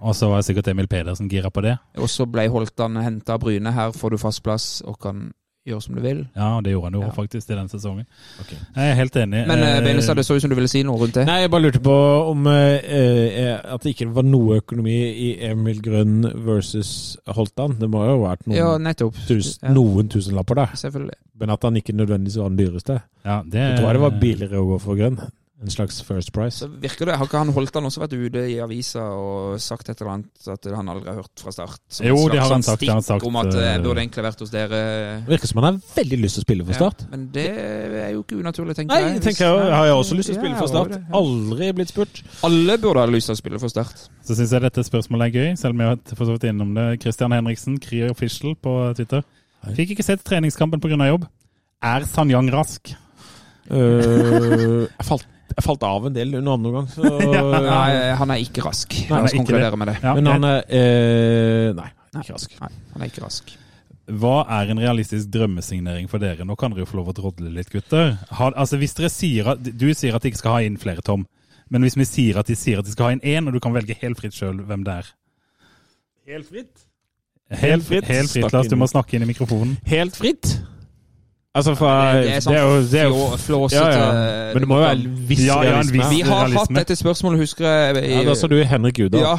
[SPEAKER 3] Og så var sikkert Emil Pedersen gira på det.
[SPEAKER 4] Og så ble Holtan henta av Bryne. Her får du fast plass og kan gjøre som du vil.
[SPEAKER 3] Ja, det gjorde han jo
[SPEAKER 4] Ja.
[SPEAKER 3] faktisk i den sesongen.
[SPEAKER 5] Ok.
[SPEAKER 3] Jeg er helt enig.
[SPEAKER 4] Men eh,
[SPEAKER 3] Eh,
[SPEAKER 4] Benestad, det så ut som du ville si noe rundt det.
[SPEAKER 5] Nei, jeg bare lurte på om eh, eh, at det ikke var noe økonomi i Emil Grønn versus Holtan. Det må jo ha vært noen,
[SPEAKER 4] Ja, nettopp.
[SPEAKER 5] tusen,
[SPEAKER 4] Ja.
[SPEAKER 5] noen tusenlapper der.
[SPEAKER 4] Selvfølgelig.
[SPEAKER 5] Men at han ikke nødvendigvis var den dyreste.
[SPEAKER 3] ja, det,
[SPEAKER 5] Jeg tror det var billigere å gå for Grønn. En slags first price.
[SPEAKER 4] Eh. Så virker det, Har ikke han Holtan også vært ute i avisa og sagt et eller annet at han aldri har hørt fra start? Som
[SPEAKER 3] Jo,
[SPEAKER 4] et slags
[SPEAKER 3] det har han
[SPEAKER 4] sånn
[SPEAKER 3] sagt, det har han
[SPEAKER 4] stikk
[SPEAKER 3] sagt,
[SPEAKER 4] om at eh,
[SPEAKER 3] eh,
[SPEAKER 4] jeg burde egentlig vært hos dere.
[SPEAKER 5] Det virker som han har veldig lyst til å spille for Start.
[SPEAKER 4] Ja, men det er jo ikke unaturlig, tenker
[SPEAKER 5] Nei,
[SPEAKER 4] jeg.
[SPEAKER 5] jeg
[SPEAKER 4] Hvis-
[SPEAKER 5] tenker jeg har jeg også lyst til å
[SPEAKER 4] Ja,
[SPEAKER 5] spille for
[SPEAKER 4] det
[SPEAKER 5] Start.
[SPEAKER 4] var det, ja.
[SPEAKER 5] Aldri blitt
[SPEAKER 4] <laughs>
[SPEAKER 5] spurt.
[SPEAKER 4] Alle burde ha lyst til å spille for Start.
[SPEAKER 3] Så syns jeg dette spørsmålet er gøy, selv om jeg har for så vidt innom det. Christian Henriksen, Krier Official på Twitter. Fikk ikke sett treningskampen pga. jobb. Er Sanyang rask?
[SPEAKER 5] Eh, jeg, falt, jeg falt av en del under andre gang,
[SPEAKER 4] <laughs>
[SPEAKER 5] så
[SPEAKER 4] Nei, han er ikke rask. La
[SPEAKER 3] han er
[SPEAKER 4] oss
[SPEAKER 3] ikke
[SPEAKER 4] konkludere
[SPEAKER 3] det.
[SPEAKER 4] med det.
[SPEAKER 3] Ja,
[SPEAKER 5] Men han er eh, Nei, ikke rask.
[SPEAKER 4] Nei, han er ikke rask.
[SPEAKER 3] Hva er en realistisk drømmesignering for dere? Nå kan dere jo få lov å drodle litt, gutter. Har, altså, hvis dere sier at, Du sier at de ikke skal ha inn flere, Tom. Men hvis vi sier at de sier at de skal ha inn én, og du kan velge helt fritt sjøl hvem det er
[SPEAKER 5] Helt fritt?
[SPEAKER 3] Helt fritt, helt fritt
[SPEAKER 5] Snakk
[SPEAKER 3] Lars. Du
[SPEAKER 5] inn.
[SPEAKER 3] må snakke inn i mikrofonen.
[SPEAKER 5] Helt fritt? Altså fra
[SPEAKER 4] Det er sånn
[SPEAKER 5] det er jo- det er jo-
[SPEAKER 4] flå- flåsete
[SPEAKER 5] ja, ja. Men det må jo være en viss
[SPEAKER 3] Ja, ja, en
[SPEAKER 5] realisme.
[SPEAKER 3] viss-
[SPEAKER 4] Vi har hatt
[SPEAKER 3] Realisme.
[SPEAKER 4] dette spørsmålet, husker jeg. i-
[SPEAKER 5] Ja, da sa du Henrik Udal.
[SPEAKER 4] Ja.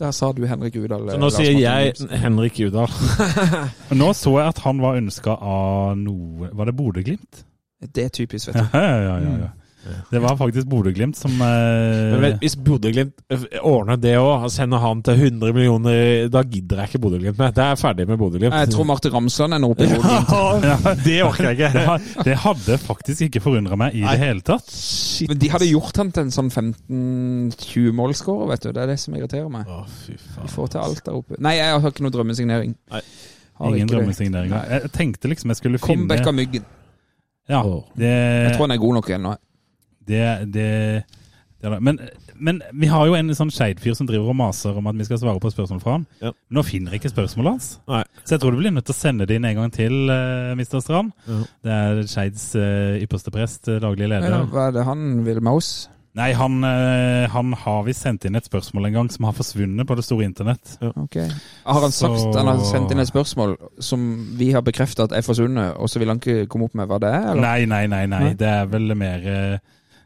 [SPEAKER 4] Der sa du Henrik Udal.
[SPEAKER 5] Så nå
[SPEAKER 4] Lars
[SPEAKER 5] sier
[SPEAKER 4] Martin
[SPEAKER 5] jeg
[SPEAKER 4] Johnsen.
[SPEAKER 5] Henrik
[SPEAKER 4] <laughs>
[SPEAKER 5] Udal.
[SPEAKER 3] Men Nå så jeg at han var ønska av noe Var det Bodø-Glimt? <laughs>
[SPEAKER 4] Det er typisk, vet
[SPEAKER 3] Ja,
[SPEAKER 4] du.
[SPEAKER 3] ja, ja, ja. Det var faktisk Bodø-Glimt som eh,
[SPEAKER 5] Mm. Men
[SPEAKER 3] <laughs>
[SPEAKER 5] hvis Bodø-Glimt ordner det òg, sender han til 100 millioner, da gidder jeg ikke Bodø-Glimt mer. Da er jeg ferdig med Bodø-Glimt.
[SPEAKER 4] Jeg tror Marte Ramsland er nå oppe i Bodø.
[SPEAKER 5] Ja, det orker jeg
[SPEAKER 3] det,
[SPEAKER 5] ikke.
[SPEAKER 3] har- det hadde faktisk ikke forundra meg i
[SPEAKER 5] Nei.
[SPEAKER 3] det hele tatt.
[SPEAKER 5] Shit.
[SPEAKER 4] Men de hadde gjort han til en sånn 15-20 målskårer, vet du. Det er det som irriterer meg.
[SPEAKER 5] Å, fy faen.
[SPEAKER 4] Vi får til alt der oppe. Nei, jeg har ikke noe drømmesignering.
[SPEAKER 5] Nei.
[SPEAKER 4] Har
[SPEAKER 3] Ingen
[SPEAKER 4] ikke det.
[SPEAKER 3] drømmesigneringer.
[SPEAKER 4] Nei.
[SPEAKER 3] Jeg tenkte liksom jeg skulle finne
[SPEAKER 4] Comeback av Myggen.
[SPEAKER 3] Ja,
[SPEAKER 5] Åh.
[SPEAKER 3] det,
[SPEAKER 4] Jeg tror han er god nok ennå.
[SPEAKER 3] det, det, det er det. Men, men vi har jo en sånn skeivfyr som driver og maser om at vi skal svare på spørsmål fra han.
[SPEAKER 5] Ja.
[SPEAKER 3] Nå finner jeg ikke spørsmålet hans.
[SPEAKER 5] Nei.
[SPEAKER 3] Så jeg tror du blir nødt til å sende det inn en gang til, eh, Mr. Strand.
[SPEAKER 5] Ja.
[SPEAKER 3] Det er Skeids eh, ypperste prest, eh, daglig leder.
[SPEAKER 4] Ja, Hva er det han vil med oss?
[SPEAKER 3] Nei, han, eh, han har visst sendt inn et spørsmål en gang som har forsvunnet på det store internett.
[SPEAKER 4] Ok. Har han sagt
[SPEAKER 3] Så-
[SPEAKER 4] Han har sendt inn et spørsmål som vi har bekrefta at er forsvunnet, og så vil han ikke komme opp med hva det er? Eller?
[SPEAKER 3] Nei, nei, nei, nei.
[SPEAKER 4] Nei?
[SPEAKER 3] Det er vel mer eh,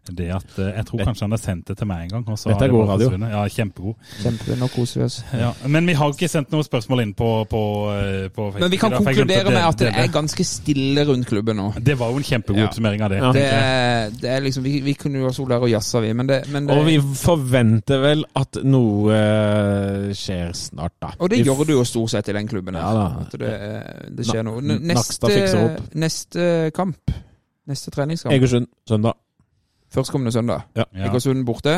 [SPEAKER 3] det at eh, Jeg tror kanskje han har sendt det til meg en gang. Og så
[SPEAKER 5] Dette
[SPEAKER 3] har
[SPEAKER 5] er
[SPEAKER 3] det
[SPEAKER 5] god
[SPEAKER 3] bare
[SPEAKER 5] radio.
[SPEAKER 3] forsvunnet. Ja, kjempegod.
[SPEAKER 4] Kjempe, nå koser vi oss.
[SPEAKER 3] Ja, men vi har ikke sendt noe spørsmål inn på, på, eh, på Facebook.
[SPEAKER 4] Men vi kan
[SPEAKER 3] i dag, for jeg glemte
[SPEAKER 4] konkludere med
[SPEAKER 3] å
[SPEAKER 4] at det
[SPEAKER 3] dele.
[SPEAKER 4] er ganske stille rundt klubben nå.
[SPEAKER 3] Det var jo en kjempegod
[SPEAKER 4] Ja.
[SPEAKER 3] oppsummering av det.
[SPEAKER 5] Ja.
[SPEAKER 3] tenker
[SPEAKER 4] Det
[SPEAKER 3] jeg.
[SPEAKER 4] er, det er liksom, vi, vi kunne jo ha sola og jazza, vi, men det, men det
[SPEAKER 5] Og vi forventer vel at noe eh, skjer snart, da.
[SPEAKER 4] Og det
[SPEAKER 5] Vi
[SPEAKER 4] gjør det jo stort sett i den klubben. her.
[SPEAKER 5] Ja da.
[SPEAKER 4] at det, eh, det skjer noe. N-
[SPEAKER 5] Nakstad
[SPEAKER 4] Neste,
[SPEAKER 5] fikser opp.
[SPEAKER 4] neste kamp, neste treningskamp,
[SPEAKER 5] Egersund søndag.
[SPEAKER 4] førstkommende søndag.
[SPEAKER 3] Ja.
[SPEAKER 4] Egersund borte.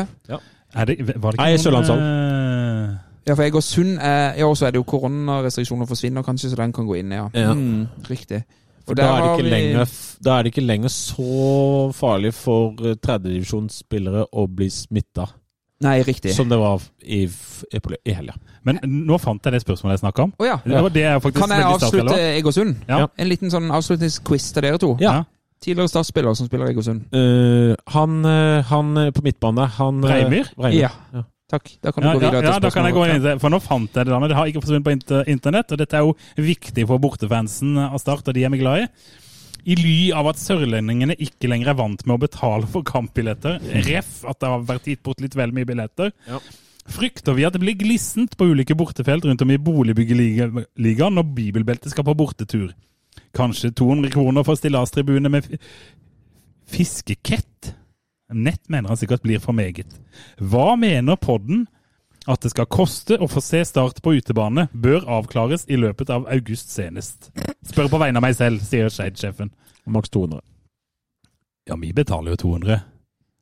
[SPEAKER 3] Er det, var det
[SPEAKER 5] Nei,
[SPEAKER 3] ikke eh,
[SPEAKER 4] Ja, for Egersund er eh, Ja, og så er det jo koronarestriksjoner forsvinner kanskje, så den kan gå inn, ja.
[SPEAKER 5] Ja.
[SPEAKER 4] Mm, riktig.
[SPEAKER 5] For
[SPEAKER 4] der
[SPEAKER 5] da er, det
[SPEAKER 4] har
[SPEAKER 5] ikke
[SPEAKER 4] vi-
[SPEAKER 5] lenger, f- da er det ikke lenger så farlig for eh, tredjedivisjonsspillere å bli smitta
[SPEAKER 4] Nei, riktig. Å
[SPEAKER 5] som det var i, f- i, poli- i helga.
[SPEAKER 3] Men nå fant jeg det spørsmålet jeg snakka om.
[SPEAKER 4] ja.
[SPEAKER 3] Det var det jeg faktisk
[SPEAKER 4] Kan jeg
[SPEAKER 3] veldig stas til,
[SPEAKER 4] avslutte
[SPEAKER 3] eller?
[SPEAKER 4] Egersund?
[SPEAKER 3] Ja.
[SPEAKER 4] En liten sånn avslutningsquiz til dere to.
[SPEAKER 5] Ja.
[SPEAKER 4] Tidligere startspiller som spiller Egersund.
[SPEAKER 5] Eh, han, eh, han eh, på midtbane han eh,
[SPEAKER 3] Breimyr?
[SPEAKER 5] Breimyr. Ja.
[SPEAKER 4] Takk. Da kan du
[SPEAKER 3] Ja,
[SPEAKER 4] gå
[SPEAKER 3] ja,
[SPEAKER 4] videre
[SPEAKER 3] ja,
[SPEAKER 4] til
[SPEAKER 3] da kan jeg gå
[SPEAKER 4] spørsmålet.
[SPEAKER 3] inn i det. For nå fant jeg det, da, men det har ikke forsvunnet på inter internett. Og dette er jo viktig for bortefansen eh, av Start, og de er vi glad i. I ly av at sørlendingene ikke lenger er vant med å betale for kampbilletter, ref at det har vært gitt bort litt vel mye billetter,
[SPEAKER 5] Ja.
[SPEAKER 3] frykter vi at det blir glissent på ulike bortefelt rundt om i boligbyggeligaen når Bibelbeltet skal på bortetur. Kanskje 200 kroner for stillastribune med fi- fiskekett? Nett mener han sikkert blir for meget. Hva mener podden at det skal koste å få se Start på utebane, bør avklares i løpet av august senest. Spør på vegne av meg selv, sier Skeid-sjefen.
[SPEAKER 5] Maks 200.
[SPEAKER 3] Ja, vi betaler jo 200.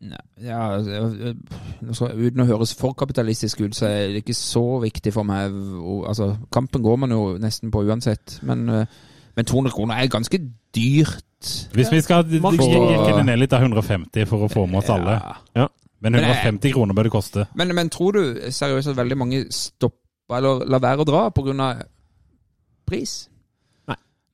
[SPEAKER 4] Nei, Ja, ø- ø- nå skal- uten å høres for kapitalistisk ut, så er det ikke så viktig for meg. hvor- Altså, kampen går man jo nesten på uansett, men, ø, men 200 kroner er ganske dyrt.
[SPEAKER 3] Hvis vi skal
[SPEAKER 5] Maks-
[SPEAKER 3] jekke det ned litt av 150 for å få med oss alle.
[SPEAKER 4] Ja.
[SPEAKER 3] Men
[SPEAKER 4] Men jeg-
[SPEAKER 3] 150 kroner bør det koste.
[SPEAKER 4] Men, men tror du seriøst at veldig mange stopper eller lar være å dra pga. pris?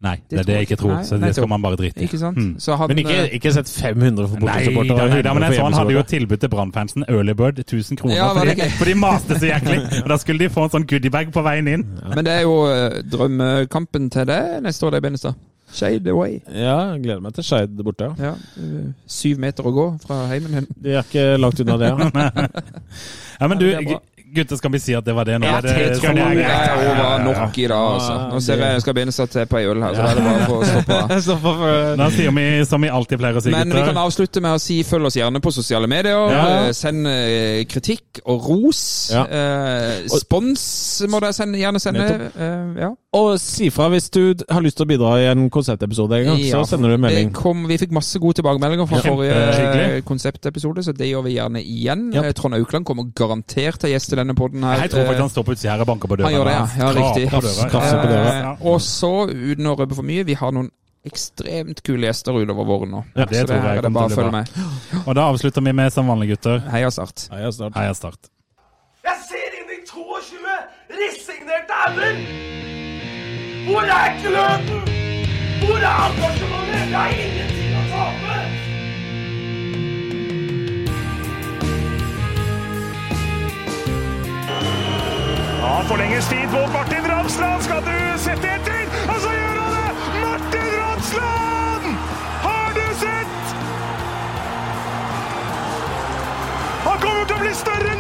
[SPEAKER 3] Nei,
[SPEAKER 4] Det
[SPEAKER 3] det er det jeg ikke tror,
[SPEAKER 4] tror-
[SPEAKER 3] så
[SPEAKER 4] nei,
[SPEAKER 3] det skal
[SPEAKER 4] tror-
[SPEAKER 3] man bare drite i.
[SPEAKER 4] Ikke sant?
[SPEAKER 3] Mm.
[SPEAKER 4] Så han, eh,
[SPEAKER 5] Men ikke,
[SPEAKER 4] ø,
[SPEAKER 5] ikke sett 500 for
[SPEAKER 3] Nei,
[SPEAKER 5] bortesupportere.
[SPEAKER 3] da,
[SPEAKER 5] og
[SPEAKER 3] nei da, men
[SPEAKER 5] 100
[SPEAKER 3] jeg
[SPEAKER 5] for
[SPEAKER 3] så han hadde jo
[SPEAKER 5] hjemmesupportere.
[SPEAKER 3] tilbud til Brannfansen Earlybird 1000 kroner,
[SPEAKER 4] Ja, var
[SPEAKER 3] for,
[SPEAKER 4] det
[SPEAKER 3] de,
[SPEAKER 4] ikke?
[SPEAKER 3] for de maste så jæklig.
[SPEAKER 4] <laughs>
[SPEAKER 3] Og da skulle de få en sånn goodiebag på veien inn.
[SPEAKER 4] men det er jo ø, drømmekampen til det neste år, det er Benestad. Shade away.
[SPEAKER 5] Ja, jeg gleder meg til Skeid borte. ja.
[SPEAKER 4] Ja, ø, syv meter å gå fra heimen din.
[SPEAKER 5] De er ikke langt unna det. Ja.
[SPEAKER 3] Ja, men du,
[SPEAKER 4] Ja, det er bra.
[SPEAKER 3] gu- gutter, skal vi si at det var det nå?
[SPEAKER 4] Ja,
[SPEAKER 3] Er det,
[SPEAKER 4] jeg tror
[SPEAKER 3] sånn
[SPEAKER 4] det
[SPEAKER 3] er greit?
[SPEAKER 4] er over nok i dag, altså. Nå ser jeg jeg skal begynne å sette på ei øl her, så da er det bare for å stoppe av.
[SPEAKER 5] Så for-
[SPEAKER 3] Da sier vi som vi alltid pleier å si,
[SPEAKER 4] Men vi
[SPEAKER 3] gutter.
[SPEAKER 4] kan avslutte med å si følg oss gjerne på sosiale medier.
[SPEAKER 5] Ja.
[SPEAKER 4] Eh, Send eh, kritikk og ros.
[SPEAKER 5] Ja.
[SPEAKER 4] Eh, Spons må dere sende, gjerne sende. Eh, Ja.
[SPEAKER 5] Og si fra hvis du d- har lyst til å bidra i en konsertepisode en gang,
[SPEAKER 4] Ja. Eh,
[SPEAKER 5] så sender du en melding.
[SPEAKER 4] Det kom, vi fikk masse gode tilbakemeldinger fra
[SPEAKER 3] Ja.
[SPEAKER 4] forrige eh,
[SPEAKER 3] Kjempehyggelig.
[SPEAKER 4] konseptepisode, så det gjør vi gjerne igjen.
[SPEAKER 5] Ja.
[SPEAKER 4] Eh, Trond Aukland kommer garantert til å gjeste denne podden her.
[SPEAKER 3] Jeg tror
[SPEAKER 4] Eh,
[SPEAKER 3] faktisk han står på utsida her og banker på døra.
[SPEAKER 4] Han gjør det, ja. Ja,
[SPEAKER 3] Skraper
[SPEAKER 4] riktig.
[SPEAKER 3] på døra.
[SPEAKER 5] Krafse på døra.
[SPEAKER 4] Eh, og så, uten å røpe for mye, vi har noen ekstremt kule gjester utover våren nå.
[SPEAKER 3] Ja, det
[SPEAKER 4] så
[SPEAKER 3] tror jeg
[SPEAKER 4] her er det
[SPEAKER 3] kommer
[SPEAKER 4] bare å
[SPEAKER 3] til å bli bra.
[SPEAKER 4] følge med.
[SPEAKER 3] Og da avslutter vi med som vanlig, gutter.
[SPEAKER 4] Heia Start.
[SPEAKER 5] Heia Start.
[SPEAKER 3] Heia Start.
[SPEAKER 1] Jeg ser inn i 22 resignerte ender! Hvor er gløden? Hvor er engasjementet? Jeg har ingenting å tape!
[SPEAKER 2] Han forlenges tid på Martin Ramsland. Skal du sette etter? Og så gjør han det! Martin Ramsland! Har du sett? Han kommer til å bli større!